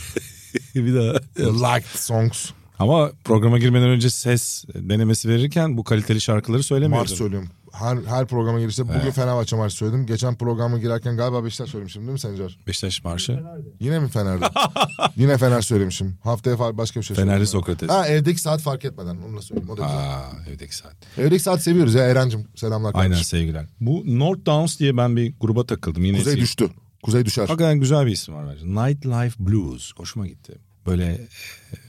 [SPEAKER 2] bir daha.
[SPEAKER 3] Liked Songs
[SPEAKER 2] Ama programa girmeden önce ses denemesi verirken bu kaliteli şarkıları
[SPEAKER 3] Mars
[SPEAKER 2] söylemiyordun.
[SPEAKER 3] söylüyorum. Her, her programa girişte bugün Fenerbahçe Mars söyledim. Geçen programa girerken galiba Beşiktaş söylemişim değil mi Sencer?
[SPEAKER 2] Beşiktaş Marşı.
[SPEAKER 3] Yine mi Fener'de? Yine Fener söylemişim. Haftaya fa- başka bir şey
[SPEAKER 2] Fenerli
[SPEAKER 3] söyledim.
[SPEAKER 2] Sokrates.
[SPEAKER 3] Ha evdeki saat fark etmeden onu da söyleyeyim. O da güzel.
[SPEAKER 2] Aa, evdeki saat.
[SPEAKER 3] Evdeki saat seviyoruz ya Eren'cim. Selamlar kardeşim.
[SPEAKER 2] Aynen sevgiler. Bu North Downs diye ben bir gruba takıldım. Yine
[SPEAKER 3] Kuzey
[SPEAKER 2] eski-
[SPEAKER 3] düştü. Kuzey düşer.
[SPEAKER 2] Hakikaten güzel bir isim var bence. Nightlife Blues. Hoşuma gitti. Böyle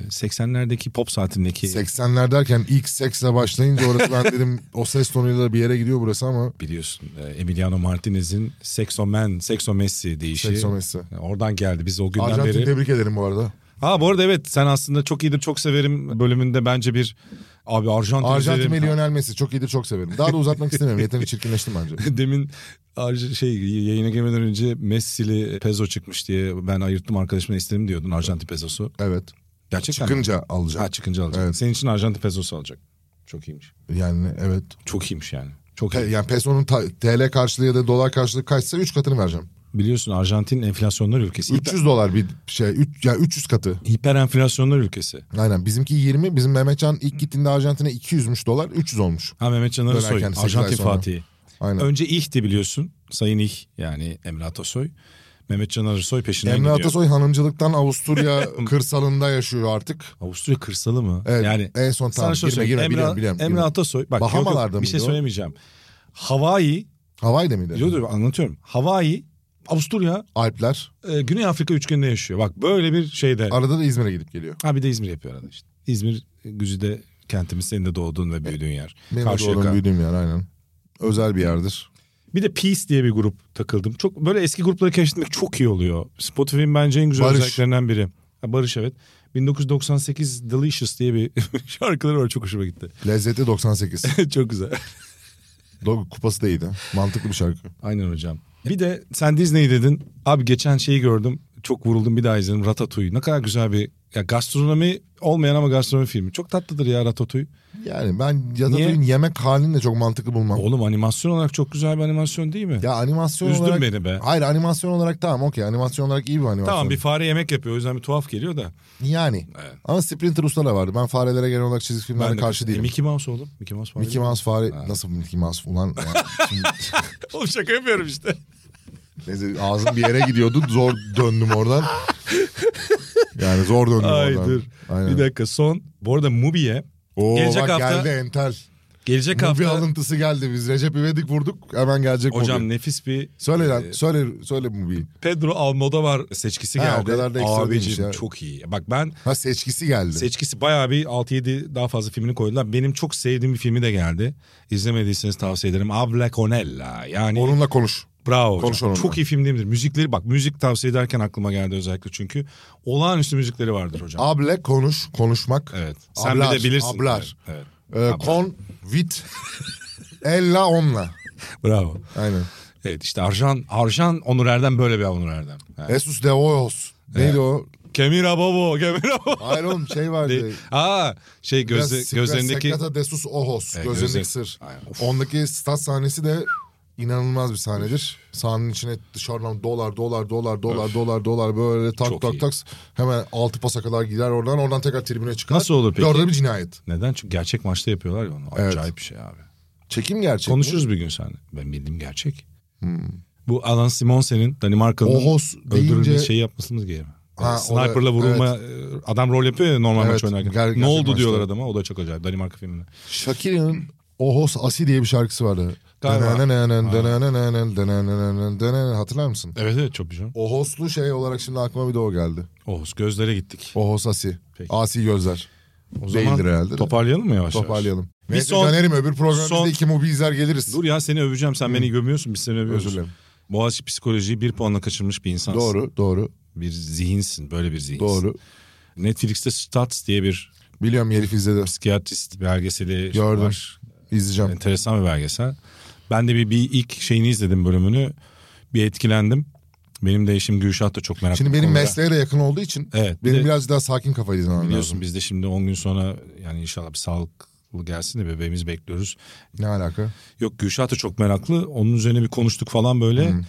[SPEAKER 2] e, 80'lerdeki pop saatindeki
[SPEAKER 3] 80'ler derken ilk seksle başlayınca orası ben dedim o ses tonuyla bir yere gidiyor burası ama
[SPEAKER 2] biliyorsun e, Emiliano Martinez'in Sexo Man, Sexo Messi deyişi.
[SPEAKER 3] Sexo Messi.
[SPEAKER 2] E, Oradan geldi. Biz o günden
[SPEAKER 3] Arjantin'i
[SPEAKER 2] beri.
[SPEAKER 3] tebrik ederim bu arada.
[SPEAKER 2] Ha bu arada evet sen aslında çok iyidir çok severim bölümünde bence bir abi Arjantin
[SPEAKER 3] Arjantin ve
[SPEAKER 2] üzerim-
[SPEAKER 3] Lionel Messi çok iyidir çok severim. Daha da uzatmak istemiyorum. Yeterince çirkinleştim bence.
[SPEAKER 2] Demin Arj- şey yayına girmeden önce Messi'li peso çıkmış diye ben ayırttım arkadaşımdan istedim diyordun Arjantin pezosu.
[SPEAKER 3] Evet.
[SPEAKER 2] Gerçekten mi?
[SPEAKER 3] Çıkınca alacağım.
[SPEAKER 2] Ha çıkınca alacak.
[SPEAKER 3] Evet.
[SPEAKER 2] Senin için Arjantin pezosu alacak. Çok iyiymiş.
[SPEAKER 3] Yani evet.
[SPEAKER 2] Çok iyiymiş yani. Çok
[SPEAKER 3] Pe-
[SPEAKER 2] iyi.
[SPEAKER 3] yani peso'nun ta- TL karşılığı ya da dolar karşılığı kaçsa 3 katını vereceğim.
[SPEAKER 2] Biliyorsun Arjantin enflasyonlar ülkesi. Hiper,
[SPEAKER 3] 300 dolar bir şey. Üç, yani 300 katı.
[SPEAKER 2] hiperenflasyonlar ülkesi.
[SPEAKER 3] Aynen. Bizimki 20. Bizim Mehmetcan ilk gittiğinde Arjantin'e 200'müş dolar. 300 olmuş.
[SPEAKER 2] Ha Mehmet Can Arasoy,
[SPEAKER 3] Dönerken sekiz ay
[SPEAKER 2] Arjantin
[SPEAKER 3] sonra.
[SPEAKER 2] Fatih'i.
[SPEAKER 3] Aynen.
[SPEAKER 2] Önce İH'ti biliyorsun. Sayın İH yani Emre Atasoy. Mehmet Can Arasoy peşinden
[SPEAKER 3] Emre
[SPEAKER 2] gidiyor.
[SPEAKER 3] Atasoy hanımcılıktan Avusturya kırsalında yaşıyor artık.
[SPEAKER 2] Avusturya kırsalı mı?
[SPEAKER 3] Evet,
[SPEAKER 2] yani
[SPEAKER 3] en son
[SPEAKER 2] sana
[SPEAKER 3] tamam,
[SPEAKER 2] şöyle
[SPEAKER 3] girme,
[SPEAKER 2] söyleyeyim.
[SPEAKER 3] girme,
[SPEAKER 2] Emre,
[SPEAKER 3] biliyorum, biliyorum,
[SPEAKER 2] Emre
[SPEAKER 3] girme.
[SPEAKER 2] Atasoy. Bak, yok, yok,
[SPEAKER 3] Bahamalarda
[SPEAKER 2] bir şey
[SPEAKER 3] mıydı o?
[SPEAKER 2] söylemeyeceğim. Hawaii
[SPEAKER 3] Havay'da mıydı?
[SPEAKER 2] Yo, dur, anlatıyorum. Hawaii Avusturya
[SPEAKER 3] Alpler.
[SPEAKER 2] e, Güney Afrika üçgeninde yaşıyor. Bak böyle bir şeyde.
[SPEAKER 3] Arada da İzmir'e gidip geliyor.
[SPEAKER 2] Ha bir de İzmir yapıyor arada işte. İzmir e, güzide kentimiz senin de doğduğun ve büyüdüğün yer.
[SPEAKER 3] E, Benim de
[SPEAKER 2] Karşıyaka.
[SPEAKER 3] doğdum büyüdüğüm yer aynen. Özel bir yerdir.
[SPEAKER 2] Bir de Peace diye bir grup takıldım. Çok böyle eski grupları keşfetmek çok iyi oluyor. Spotify'ın bence en güzel
[SPEAKER 3] Barış.
[SPEAKER 2] özelliklerinden biri. Ha, Barış evet. 1998 Delicious diye bir şarkıları var çok hoşuma gitti.
[SPEAKER 3] Lezzeti 98.
[SPEAKER 2] çok güzel.
[SPEAKER 3] Do- Kupası da iyiydi. Mantıklı bir şarkı.
[SPEAKER 2] Aynen hocam. Bir de sen Disney dedin. Abi geçen şeyi gördüm. Çok vuruldum bir daha izledim. Ratatouille. Ne kadar güzel bir ya gastronomi olmayan ama gastronomi filmi. Çok tatlıdır ya Ratatouille.
[SPEAKER 3] Yani ben Ratatouille'in yemek halini de çok mantıklı bulmam.
[SPEAKER 2] Oğlum animasyon olarak çok güzel bir animasyon değil mi?
[SPEAKER 3] Ya animasyon
[SPEAKER 2] Üzdün
[SPEAKER 3] olarak...
[SPEAKER 2] beni be.
[SPEAKER 3] Hayır animasyon olarak tamam okey. Animasyon olarak iyi bir animasyon.
[SPEAKER 2] Tamam bir fare yemek yapıyor. O yüzden bir tuhaf geliyor da.
[SPEAKER 3] Yani.
[SPEAKER 2] Evet.
[SPEAKER 3] Ama Splinter Usta da vardı. Ben farelere genel olarak çizgi filmlere
[SPEAKER 2] de- E,
[SPEAKER 3] karşı değilim.
[SPEAKER 2] Mickey Mouse oğlum. Mickey Mouse fare.
[SPEAKER 3] Mickey Mouse fare... Nasıl Mickey Mouse? Ulan... ulan. Şimdi-
[SPEAKER 2] Oğlum şaka yapıyorum işte.
[SPEAKER 3] Neyse ağzım bir yere gidiyordu. Zor döndüm oradan. Yani zor döndüm
[SPEAKER 2] Ay
[SPEAKER 3] oradan.
[SPEAKER 2] dur.
[SPEAKER 3] Aynen.
[SPEAKER 2] Bir dakika son. Bu arada Mubi'ye
[SPEAKER 3] Oo,
[SPEAKER 2] Gelecek
[SPEAKER 3] bak
[SPEAKER 2] hafta-
[SPEAKER 3] geldi entel.
[SPEAKER 2] gelecek
[SPEAKER 3] Bu bir
[SPEAKER 2] hafta
[SPEAKER 3] alıntısı geldi. Biz Recep İvedik vurduk. Hemen gelecek
[SPEAKER 2] hocam e,
[SPEAKER 3] Mubi.
[SPEAKER 2] nefis bir
[SPEAKER 3] Söyle lan. Söyle, söyle Mubi'yi.
[SPEAKER 2] Pedro Almodovar seçkisi
[SPEAKER 3] Ha,
[SPEAKER 2] geldi.
[SPEAKER 3] o kadar da ekstra
[SPEAKER 2] Abicim
[SPEAKER 3] değilmiş ya.
[SPEAKER 2] çok iyi. Bak ben
[SPEAKER 3] Ha seçkisi geldi.
[SPEAKER 2] seçkisi bayağı bir 6-7 daha fazla filmini koydular. Benim çok sevdiğim bir filmi de geldi. İzlemediyseniz tavsiye ederim. Avla Conella. Yani
[SPEAKER 3] Onunla konuş.
[SPEAKER 2] bravo hocam.
[SPEAKER 3] konuş onunla.
[SPEAKER 2] Çok iyi film değil midir? Müzikleri bak müzik tavsiye ederken aklıma geldi özellikle çünkü. Olağanüstü müzikleri vardır hocam.
[SPEAKER 3] Able konuş. Konuşmak.
[SPEAKER 2] evet. Sen
[SPEAKER 3] Ablar,
[SPEAKER 2] bir de bilirsin.
[SPEAKER 3] ablar.
[SPEAKER 2] Evet.
[SPEAKER 3] Ee, kon vit. Ella onla.
[SPEAKER 2] evet. Bravo.
[SPEAKER 3] Aynen.
[SPEAKER 2] Evet işte Arjan, Arjan Onur Erdem böyle bir Onur Erdem. Evet.
[SPEAKER 3] Esus de oyos. Neydi o?
[SPEAKER 2] Kemira Bobo, Kemira Bobo.
[SPEAKER 3] Hayır oğlum şey vardı.
[SPEAKER 2] Aa şey
[SPEAKER 3] Biraz
[SPEAKER 2] gözle,
[SPEAKER 3] Secret-
[SPEAKER 2] gözlerindeki
[SPEAKER 3] Secreta de sus ojos.
[SPEAKER 2] Evet,
[SPEAKER 3] gözlerindeki
[SPEAKER 2] gözler-
[SPEAKER 3] sır.
[SPEAKER 2] Aynen.
[SPEAKER 3] Ondaki stat sahnesi de inanılmaz bir sahnedir. Sahnenin içine dışarıdan dolar dolar dolar dolar dolar dolar böyle tak
[SPEAKER 2] Çok
[SPEAKER 3] tak
[SPEAKER 2] iyi.
[SPEAKER 3] tak hemen altı pasa kadar gider oradan oradan tekrar tribüne çıkar.
[SPEAKER 2] Nasıl olur peki?
[SPEAKER 3] Orada bir cinayet.
[SPEAKER 2] Neden? Çünkü gerçek maçta yapıyorlar ya onu.
[SPEAKER 3] Evet.
[SPEAKER 2] Acayip bir şey abi.
[SPEAKER 3] Çekim gerçek.
[SPEAKER 2] Konuşuruz bir gün seninle. Ben bildiğim gerçek.
[SPEAKER 3] Hmm.
[SPEAKER 2] Bu Alan Simonsen'in Danimarkalı'nın
[SPEAKER 3] Ojos deyince
[SPEAKER 2] öldürülmesi şeyi yapmasını gerekiyor.
[SPEAKER 3] Ha,
[SPEAKER 2] Yani Sniper'la
[SPEAKER 3] o da-
[SPEAKER 2] vurulma e, adam rol yapıyor ya normal
[SPEAKER 3] Evet,
[SPEAKER 2] maç oynarken.
[SPEAKER 3] ger- gerçek
[SPEAKER 2] ne oldu
[SPEAKER 3] maçta.
[SPEAKER 2] diyorlar adama o da çok acayip Danimarka filminde.
[SPEAKER 3] Shakira'nın Ojos Asi diye bir şarkısı vardı.
[SPEAKER 2] Galiba.
[SPEAKER 3] Dönenenen, dönenenen, dönenenen, dönenen. Hatırlar mısın?
[SPEAKER 2] Evet evet çok güzel.
[SPEAKER 3] Ohoslu şey olarak şimdi aklıma bir de o geldi.
[SPEAKER 2] Oğuz gözlere gittik.
[SPEAKER 3] Ohos Asi.
[SPEAKER 2] Peki.
[SPEAKER 3] Asi gözler.
[SPEAKER 2] O zaman
[SPEAKER 3] Değildir herhalde de.
[SPEAKER 2] toparlayalım mı yavaş yavaş?
[SPEAKER 3] Toparlayalım.
[SPEAKER 2] Bir
[SPEAKER 3] Neyse
[SPEAKER 2] son-
[SPEAKER 3] dönerim öbür programda
[SPEAKER 2] son-
[SPEAKER 3] biz de iki mobi izler geliriz.
[SPEAKER 2] Dur ya seni öveceğim sen beni gömüyorsun biz seni övüyoruz.
[SPEAKER 3] Özür dilerim.
[SPEAKER 2] Boğaziçi psikolojiyi bir puanla kaçırmış bir insansın.
[SPEAKER 3] Doğru, doğru,
[SPEAKER 2] Bir zihinsin böyle bir zihinsin.
[SPEAKER 3] doğru.
[SPEAKER 2] Netflix'te Stats diye bir
[SPEAKER 3] Biliyorum Elif izledi.
[SPEAKER 2] psikiyatrist belgeseli
[SPEAKER 3] Gördüm.
[SPEAKER 2] var.
[SPEAKER 3] İzleyeceğim.
[SPEAKER 2] Enteresan bir belgesel. Ben de bir, bir ilk şeyini izledim bölümünü. Bir etkilendim. Benim de eşim Gülşah da çok meraklı.
[SPEAKER 3] Şimdi
[SPEAKER 2] bu
[SPEAKER 3] benim
[SPEAKER 2] konuda.
[SPEAKER 3] mesleğe de yakın olduğu için
[SPEAKER 2] Evet, bir
[SPEAKER 3] benim
[SPEAKER 2] de-
[SPEAKER 3] biraz daha sakin kafayı izlemem lazım.
[SPEAKER 2] Biliyorsun biz de şimdi 10 gün sonra yani inşallah bir sağlıklı gelsin de bebeğimizi bekliyoruz.
[SPEAKER 3] Ne alaka?
[SPEAKER 2] Yok Gülşah da çok meraklı. Onun üzerine bir konuştuk falan böyle.
[SPEAKER 3] Hmm.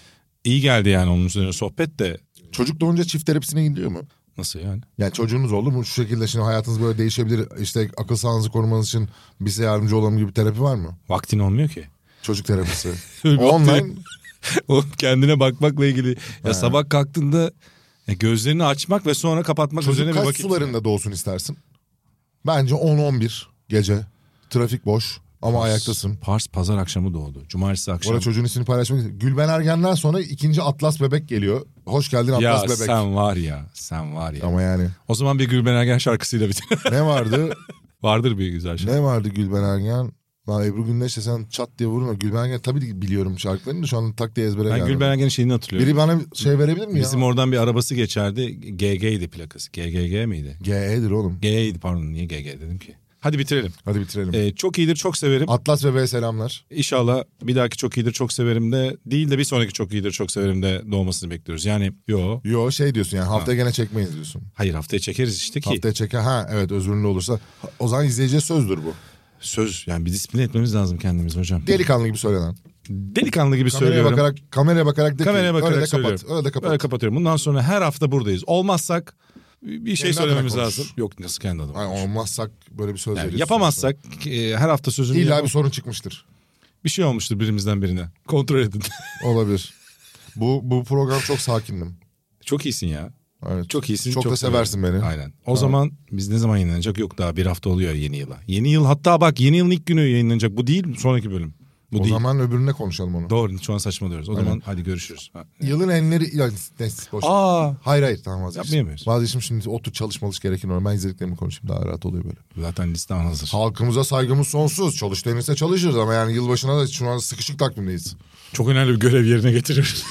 [SPEAKER 2] İyi geldi yani onun üzerine sohbet de.
[SPEAKER 3] Çocuk doğunca çift terapisine gidiyor mu?
[SPEAKER 2] Nasıl yani?
[SPEAKER 3] Yani çocuğunuz oldu mu? Şu şekilde şimdi hayatınız böyle değişebilir. İşte akıl sağlığınızı korumanız için bize yardımcı olalım gibi terapi var mı?
[SPEAKER 2] Vaktin olmuyor ki.
[SPEAKER 3] Çocuk terapisi.
[SPEAKER 2] Öyle bir
[SPEAKER 3] Online.
[SPEAKER 2] vakti- O kendine bakmakla ilgili. Ya sabah kalktığında ya gözlerini açmak ve sonra kapatmak üzerine
[SPEAKER 3] Çocuk
[SPEAKER 2] bir
[SPEAKER 3] kaç
[SPEAKER 2] vakit.
[SPEAKER 3] sularında doğsun istersin? Bence 10-11 gece. Trafik boş ama ayaktasın.
[SPEAKER 2] Pars pazar akşamı doğdu. Cumartesi
[SPEAKER 3] Bu
[SPEAKER 2] akşamı.
[SPEAKER 3] arada çocuğun ismini paylaşmak istedim. Gülben Ergen'den sonra ikinci Atlas Bebek geliyor. Hoş geldin
[SPEAKER 2] Ya
[SPEAKER 3] Atlas Bebek.
[SPEAKER 2] sen var ya. Sen var ya.
[SPEAKER 3] Ama yani
[SPEAKER 2] O zaman bir Gülben Ergen şarkısıyla bitir.
[SPEAKER 3] ne vardı?
[SPEAKER 2] Vardır bir güzel şarkı.
[SPEAKER 3] ne vardı Gülben Ergen? Lan Ebru Gündeş'le sen çat diye vurma. Gülben Ergen tabii ki biliyorum şarkılarını da şu an tak diye ezbere
[SPEAKER 2] Ben
[SPEAKER 3] geldi.
[SPEAKER 2] Gülben Ergen'in şeyini hatırlıyorum.
[SPEAKER 3] Biri bana şey verebilir mi
[SPEAKER 2] Bizim
[SPEAKER 3] ya?
[SPEAKER 2] oradan bir arabası geçerdi. GG'ydi plakası. GGG miydi?
[SPEAKER 3] GE'dir oğlum.
[SPEAKER 2] GG'ydi pardon. Niye GG dedim ki? Hadi bitirelim.
[SPEAKER 3] Hadi bitirelim.
[SPEAKER 2] Ee, çok iyidir, çok severim.
[SPEAKER 3] Atlas Bebe'ye selamlar.
[SPEAKER 2] İnşallah bir dahaki çok iyidir, çok severim de değil de bir sonraki çok iyidir, çok severim de doğmasını bekliyoruz. Yani yo.
[SPEAKER 3] Yo şey diyorsun yani haftaya gene çekmeyiz diyorsun.
[SPEAKER 2] Hayır haftaya çekeriz işte ki.
[SPEAKER 3] Haftaya çeker. Ha evet özürlü olursa. O zaman izleyiciye sözdür bu.
[SPEAKER 2] Söz yani bir disiplin etmemiz lazım kendimiz hocam.
[SPEAKER 3] Delikanlı gibi söylenen.
[SPEAKER 2] Delikanlı gibi
[SPEAKER 3] Kameraya
[SPEAKER 2] söylüyorum.
[SPEAKER 3] bakarak, kameraya bakarak de ki,
[SPEAKER 2] Kameraya bakarak
[SPEAKER 3] öyle de kapat.
[SPEAKER 2] söylüyorum.
[SPEAKER 3] Öyle de kapat.
[SPEAKER 2] Böyle kapatıyorum. Bundan sonra her hafta buradayız. Olmazsak bir şey
[SPEAKER 3] Kendi
[SPEAKER 2] söylememiz
[SPEAKER 3] adına konuş.
[SPEAKER 2] lazım. Yok nasıl kendi adıma.
[SPEAKER 3] Ay, olmazsak böyle bir söz
[SPEAKER 2] Yani
[SPEAKER 3] veriyorsun.
[SPEAKER 2] yapamazsak e, her hafta sözünü
[SPEAKER 3] İlla
[SPEAKER 2] yapalım.
[SPEAKER 3] bir sorun çıkmıştır.
[SPEAKER 2] bir şey olmuştur birimizden birine. Kontrol edin.
[SPEAKER 3] Olabilir. Bu bu program çok sakindim.
[SPEAKER 2] çok iyisin ya.
[SPEAKER 3] Evet.
[SPEAKER 2] Çok iyisin.
[SPEAKER 3] Çok, da seversin
[SPEAKER 2] severim.
[SPEAKER 3] beni.
[SPEAKER 2] Aynen. O zaman biz ne zaman yayınlanacak? Yok daha bir hafta oluyor yeni yıla. Yeni yıl hatta bak yeni yılın ilk günü yayınlanacak. Bu değil sonraki bölüm. Bu
[SPEAKER 3] o
[SPEAKER 2] değil.
[SPEAKER 3] zaman öbürüne konuşalım onu.
[SPEAKER 2] Doğru şu an saçmalıyoruz. O zaman hadi görüşürüz. Ha.
[SPEAKER 3] Yılın enleri... Ya, neyse, boş. ver.
[SPEAKER 2] Aa
[SPEAKER 3] Hayır hayır tamam vazgeçtim.
[SPEAKER 2] Yapmayamıyoruz.
[SPEAKER 3] Vazgeçtim şimdi otur çalışmalış gerekir. ona. Ben izlediklerimi konuşayım daha rahat oluyor böyle.
[SPEAKER 2] zaten listan hazır.
[SPEAKER 3] Halkımıza saygımız sonsuz. Çalış denirse çalışırız ama yani yılbaşına da şu an sıkışık takvimdeyiz.
[SPEAKER 2] Çok önemli bir görev yerine getiriyoruz.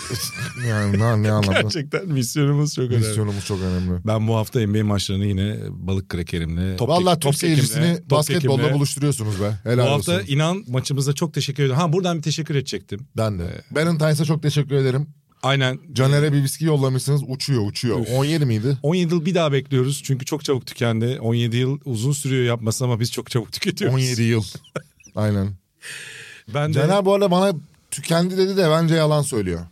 [SPEAKER 3] Yani ne, ne anlamda?
[SPEAKER 2] Gerçekten misyonumuz çok önemli.
[SPEAKER 3] Misyonumuz çok önemli.
[SPEAKER 2] Ben bu hafta NBA maçlarını yine balık krekerimle... Top
[SPEAKER 3] Vallahi
[SPEAKER 2] top
[SPEAKER 3] Türk seyircisini
[SPEAKER 2] kekimle, top
[SPEAKER 3] basketbolla
[SPEAKER 2] kekimle-
[SPEAKER 3] buluşturuyorsunuz be. Helal
[SPEAKER 2] Bu
[SPEAKER 3] olsun.
[SPEAKER 2] hafta inan maçımıza çok teşekkür ediyorum. Ha buradan bir teşekkür edecektim.
[SPEAKER 3] Ben de.
[SPEAKER 2] Ee,
[SPEAKER 3] Valentine's'a çok teşekkür ederim.
[SPEAKER 2] Aynen.
[SPEAKER 3] Caner'e bir viski yollamışsınız. Uçuyor uçuyor. 17 miydi?
[SPEAKER 2] 17 yıl bir daha bekliyoruz. Çünkü çok çabuk tükendi. 17 yıl uzun sürüyor yapması ama biz çok çabuk tüketiyoruz.
[SPEAKER 3] 17 yıl. Aynen.
[SPEAKER 2] Ben de
[SPEAKER 3] Caner bu arada bana tükendi dedi de bence yalan söylüyor.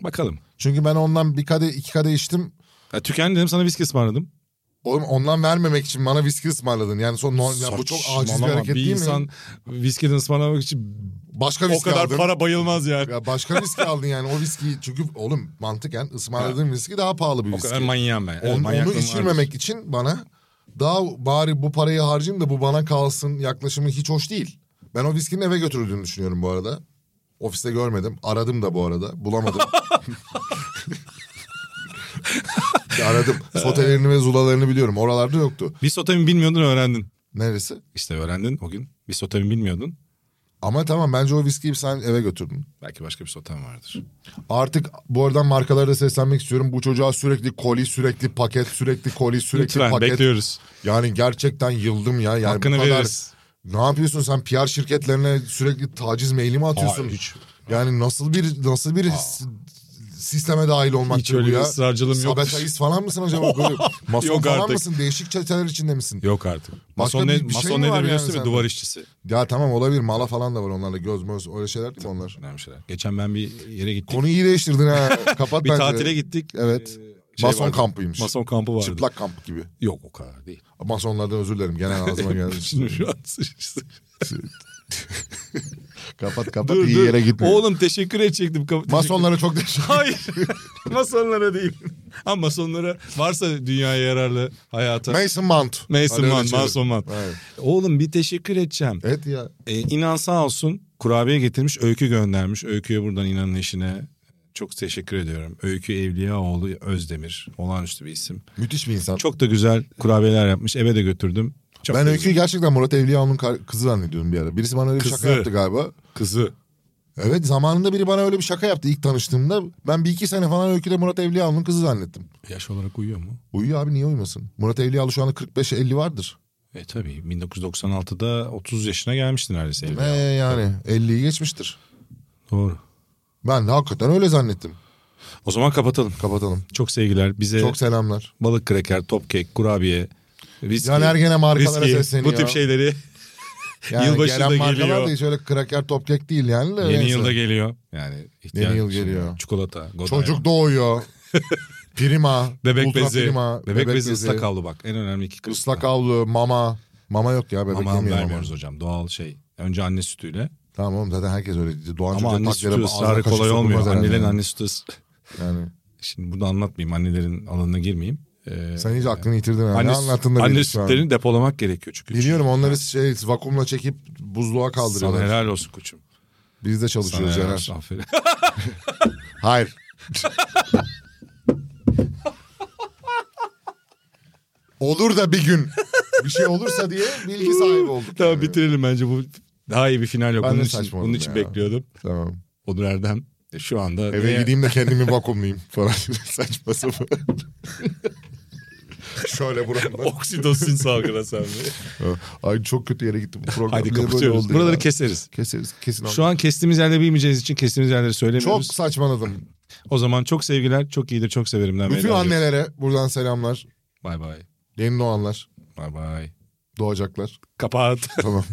[SPEAKER 2] bakalım.
[SPEAKER 3] Çünkü ben ondan bir kadeh iki kadeh içtim.
[SPEAKER 2] Ya, tükendi dedim sana viski ısmarladım.
[SPEAKER 3] Oğlum ondan vermemek için bana viski ısmarladın. Yani son no- ya bu çok aciz bir
[SPEAKER 2] Saçmalama. bir
[SPEAKER 3] hareket değil mi?
[SPEAKER 2] insan viskiden ısmarlamak için
[SPEAKER 3] Başka
[SPEAKER 2] o
[SPEAKER 3] viski
[SPEAKER 2] kadar
[SPEAKER 3] aldın.
[SPEAKER 2] para bayılmaz yani.
[SPEAKER 3] Ya başka viski aldın yani o viskiyi. Çünkü oğlum mantıken ısmarladığın viski daha pahalı bir
[SPEAKER 2] O
[SPEAKER 3] viski.
[SPEAKER 2] kadar manyağım ben. Evet,
[SPEAKER 3] On- onu
[SPEAKER 2] manyaklığım
[SPEAKER 3] içirmemek
[SPEAKER 2] vardır.
[SPEAKER 3] için bana daha bari bu parayı harcayayım da bu bana kalsın yaklaşımı hiç hoş değil. Ben o viskinin eve götürüldüğünü düşünüyorum bu arada. Ofiste görmedim. Aradım da bu arada. Bulamadım. Aradım. Sotelerini ve zulalarını biliyorum. Oralarda yoktu.
[SPEAKER 2] Bir sotamin bilmiyordun öğrendin.
[SPEAKER 3] Neresi?
[SPEAKER 2] İşte öğrendin o gün. Bir sotamin bilmiyordun.
[SPEAKER 3] Ama tamam bence o viskiyi sen eve götürdün.
[SPEAKER 2] Belki başka bir sotam vardır.
[SPEAKER 3] Artık bu aradan markalara da seslenmek istiyorum. Bu çocuğa sürekli koli, sürekli paket, sürekli koli, sürekli
[SPEAKER 2] Lütfen
[SPEAKER 3] paket.
[SPEAKER 2] bekliyoruz.
[SPEAKER 3] Yani gerçekten yıldım ya. Yani
[SPEAKER 2] Hakkını
[SPEAKER 3] bu kadar...
[SPEAKER 2] veririz.
[SPEAKER 3] Ne yapıyorsun sen PR şirketlerine sürekli taciz maili mi atıyorsun?
[SPEAKER 2] Hayır, hiç.
[SPEAKER 3] Yani nasıl bir nasıl bir s- sisteme dahil olmak
[SPEAKER 2] Hiç öyle
[SPEAKER 3] bu
[SPEAKER 2] bir
[SPEAKER 3] ya?
[SPEAKER 2] ısrarcılığım yok.
[SPEAKER 3] Sabotajist falan mısın acaba? Böyle mason
[SPEAKER 2] Yok
[SPEAKER 3] falan
[SPEAKER 2] artık.
[SPEAKER 3] mısın? Değişik çeteler içinde misin?
[SPEAKER 2] Yok artık.
[SPEAKER 3] Başka
[SPEAKER 2] Mason,
[SPEAKER 3] bir-
[SPEAKER 2] ne,
[SPEAKER 3] bir şey mi
[SPEAKER 2] mason
[SPEAKER 3] var
[SPEAKER 2] nedir
[SPEAKER 3] yani
[SPEAKER 2] biliyorsun değil mi?
[SPEAKER 3] sende?
[SPEAKER 2] Duvar işçisi.
[SPEAKER 3] Ya tamam olabilir. Mala falan da var onlarla. Göz möz öyle şeyler değil mi onlar?
[SPEAKER 2] Önemli şeyler. Geçen ben bir yere gittim.
[SPEAKER 3] Konuyu iyi değiştirdin ha. Kapat
[SPEAKER 2] bir
[SPEAKER 3] bence.
[SPEAKER 2] tatile gittik.
[SPEAKER 3] Evet.
[SPEAKER 2] şey
[SPEAKER 3] mason
[SPEAKER 2] vardı.
[SPEAKER 3] kampıymış.
[SPEAKER 2] Mason kampı vardı.
[SPEAKER 3] Çıplak kamp gibi.
[SPEAKER 2] Yok o kadar değil.
[SPEAKER 3] Masonlardan özür dilerim. Genel ağzıma geldi.
[SPEAKER 2] Şimdi şu an sıçrısı.
[SPEAKER 3] kapat kapat
[SPEAKER 2] dur
[SPEAKER 3] iyi
[SPEAKER 2] dur.
[SPEAKER 3] yere gitme.
[SPEAKER 2] Oğlum teşekkür edecektim. Kap-
[SPEAKER 3] Masonlara çok teşekkür
[SPEAKER 2] Hayır. Masonlara değil. Ama masonlara varsa dünyaya yararlı hayata.
[SPEAKER 3] Mason Mount.
[SPEAKER 2] Mason
[SPEAKER 3] Hadi öyle
[SPEAKER 2] Man,
[SPEAKER 3] çevir.
[SPEAKER 2] Mason Man.
[SPEAKER 3] Evet.
[SPEAKER 2] Oğlum bir teşekkür edeceğim.
[SPEAKER 3] Evet ya.
[SPEAKER 2] Ee, inan sağ olsun kurabiye getirmiş öykü göndermiş. Öyküye buradan inanın eşine çok teşekkür ediyorum. Öykü Evliyaoğlu Özdemir. Olağanüstü bir isim.
[SPEAKER 3] Müthiş bir insan.
[SPEAKER 2] Çok da güzel kurabiyeler yapmış. Eve de götürdüm. Çok
[SPEAKER 3] ben
[SPEAKER 2] da
[SPEAKER 3] Öykü'yü gerçekten Murat Evliyaoğlu'nun kar- kızı zannediyordum bir ara. Birisi bana öyle bir
[SPEAKER 2] Kızı.
[SPEAKER 3] şaka yaptı galiba.
[SPEAKER 2] kızı.
[SPEAKER 3] Evet zamanında biri bana öyle bir şaka yaptı ilk tanıştığımda. Ben bir iki sene falan Öykü'de Murat Evliyaoğlu'nun kızı zannettim.
[SPEAKER 2] Yaş olarak uyuyor mu?
[SPEAKER 3] Uyuyor abi niye uyumasın? Murat Evliyaoğlu şu anda 45-50 vardır.
[SPEAKER 2] E tabii 1996'da 30 yaşına gelmişti neredeyse.
[SPEAKER 3] Ee,
[SPEAKER 2] Evliya.
[SPEAKER 3] yani 50'yi geçmiştir.
[SPEAKER 2] Doğru.
[SPEAKER 3] Ben de hakikaten öyle zannettim.
[SPEAKER 2] O zaman kapatalım.
[SPEAKER 3] Kapatalım.
[SPEAKER 2] Çok sevgiler. Bize
[SPEAKER 3] Çok selamlar.
[SPEAKER 2] balık kreker, top kek, kurabiye, viski,
[SPEAKER 3] Caner gene markalara
[SPEAKER 2] viski,
[SPEAKER 3] sesleniyor.
[SPEAKER 2] bu tip şeyleri
[SPEAKER 3] Yani
[SPEAKER 2] Yılbaşı
[SPEAKER 3] gelen
[SPEAKER 2] da
[SPEAKER 3] markalar
[SPEAKER 2] geliyor.
[SPEAKER 3] da hiç öyle kraker top kek değil yani. de
[SPEAKER 2] yeni
[SPEAKER 3] neyse.
[SPEAKER 2] yılda geliyor. Yani ihtiyaç
[SPEAKER 3] Yeni yıl
[SPEAKER 2] şey,
[SPEAKER 3] geliyor.
[SPEAKER 2] Çikolata, Godiva.
[SPEAKER 3] Çocuk doğuyor. Prima.
[SPEAKER 2] Bebek
[SPEAKER 3] Ultra
[SPEAKER 2] bezi,
[SPEAKER 3] Prima,
[SPEAKER 2] bebek, bezi, ıslak havlu bak en önemli iki kısmı.
[SPEAKER 3] Islak havlu, mama. Mama yok ya bebek
[SPEAKER 2] Ama
[SPEAKER 3] yemiyor mama.
[SPEAKER 2] vermiyoruz hocam doğal şey. Önce anne sütüyle
[SPEAKER 3] Tamam oğlum zaten herkes öyle. Doğan
[SPEAKER 2] ama anne sütü ısrarı kolay olmuyor. Annelerin anne sütü ıs-
[SPEAKER 3] Yani.
[SPEAKER 2] Şimdi bunu anlatmayayım annelerin alanına girmeyeyim. Ee,
[SPEAKER 3] Sen iyice aklını yitirdin. ha.
[SPEAKER 2] anne,
[SPEAKER 3] ne
[SPEAKER 2] süt-
[SPEAKER 3] anlattın da
[SPEAKER 2] anne
[SPEAKER 3] bildik şu an.
[SPEAKER 2] sütlerini depolamak gerekiyor çünkü.
[SPEAKER 3] Biliyorum onları şey vakumla çekip buzluğa
[SPEAKER 2] Sana
[SPEAKER 3] kaldırıyorlar.
[SPEAKER 2] helal olsun koçum.
[SPEAKER 3] Biz
[SPEAKER 2] Sana
[SPEAKER 3] de çalışıyoruz
[SPEAKER 2] helal
[SPEAKER 3] Caner.
[SPEAKER 2] olsun aferin.
[SPEAKER 3] Hayır. Olur da bir gün bir şey olursa diye bilgi sahibi olduk.
[SPEAKER 2] tamam
[SPEAKER 3] yani.
[SPEAKER 2] bitirelim bence bu daha iyi bir final yok.
[SPEAKER 3] Ben de
[SPEAKER 2] bunun için,
[SPEAKER 3] saçmaladım
[SPEAKER 2] bunun için
[SPEAKER 3] ya.
[SPEAKER 2] bekliyordum.
[SPEAKER 3] Tamam.
[SPEAKER 2] Onur Erdem e, şu anda
[SPEAKER 3] Eve
[SPEAKER 2] neye-
[SPEAKER 3] gideyim de kendimi vakumlayayım falan. Saçma sapan. Şöyle
[SPEAKER 2] Oh.
[SPEAKER 3] buramda.
[SPEAKER 2] oksitosin salgılasa.
[SPEAKER 3] Ay çok kötü yere gittim. Bu program
[SPEAKER 2] Haydi
[SPEAKER 3] niye böyle
[SPEAKER 2] kapatıyoruz.
[SPEAKER 3] oldu
[SPEAKER 2] Buraları
[SPEAKER 3] ya?
[SPEAKER 2] keseriz.
[SPEAKER 3] keseriz. Kesin
[SPEAKER 2] Şu an kestiğimiz yerleri bilmeyeceğiniz için kestiğimiz yerleri
[SPEAKER 3] Çok
[SPEAKER 2] söylemiyoruz.
[SPEAKER 3] saçmaladım.
[SPEAKER 2] O zaman çok sevgiler, çok iyidir, çok severimden.
[SPEAKER 3] Bütün
[SPEAKER 2] veda ediyoruz.
[SPEAKER 3] annelere buradan selamlar.
[SPEAKER 2] Bay bay.
[SPEAKER 3] Yeni doğanlar.
[SPEAKER 2] Bay bay.
[SPEAKER 3] Doğacaklar.
[SPEAKER 2] Kapat.
[SPEAKER 3] Tamam.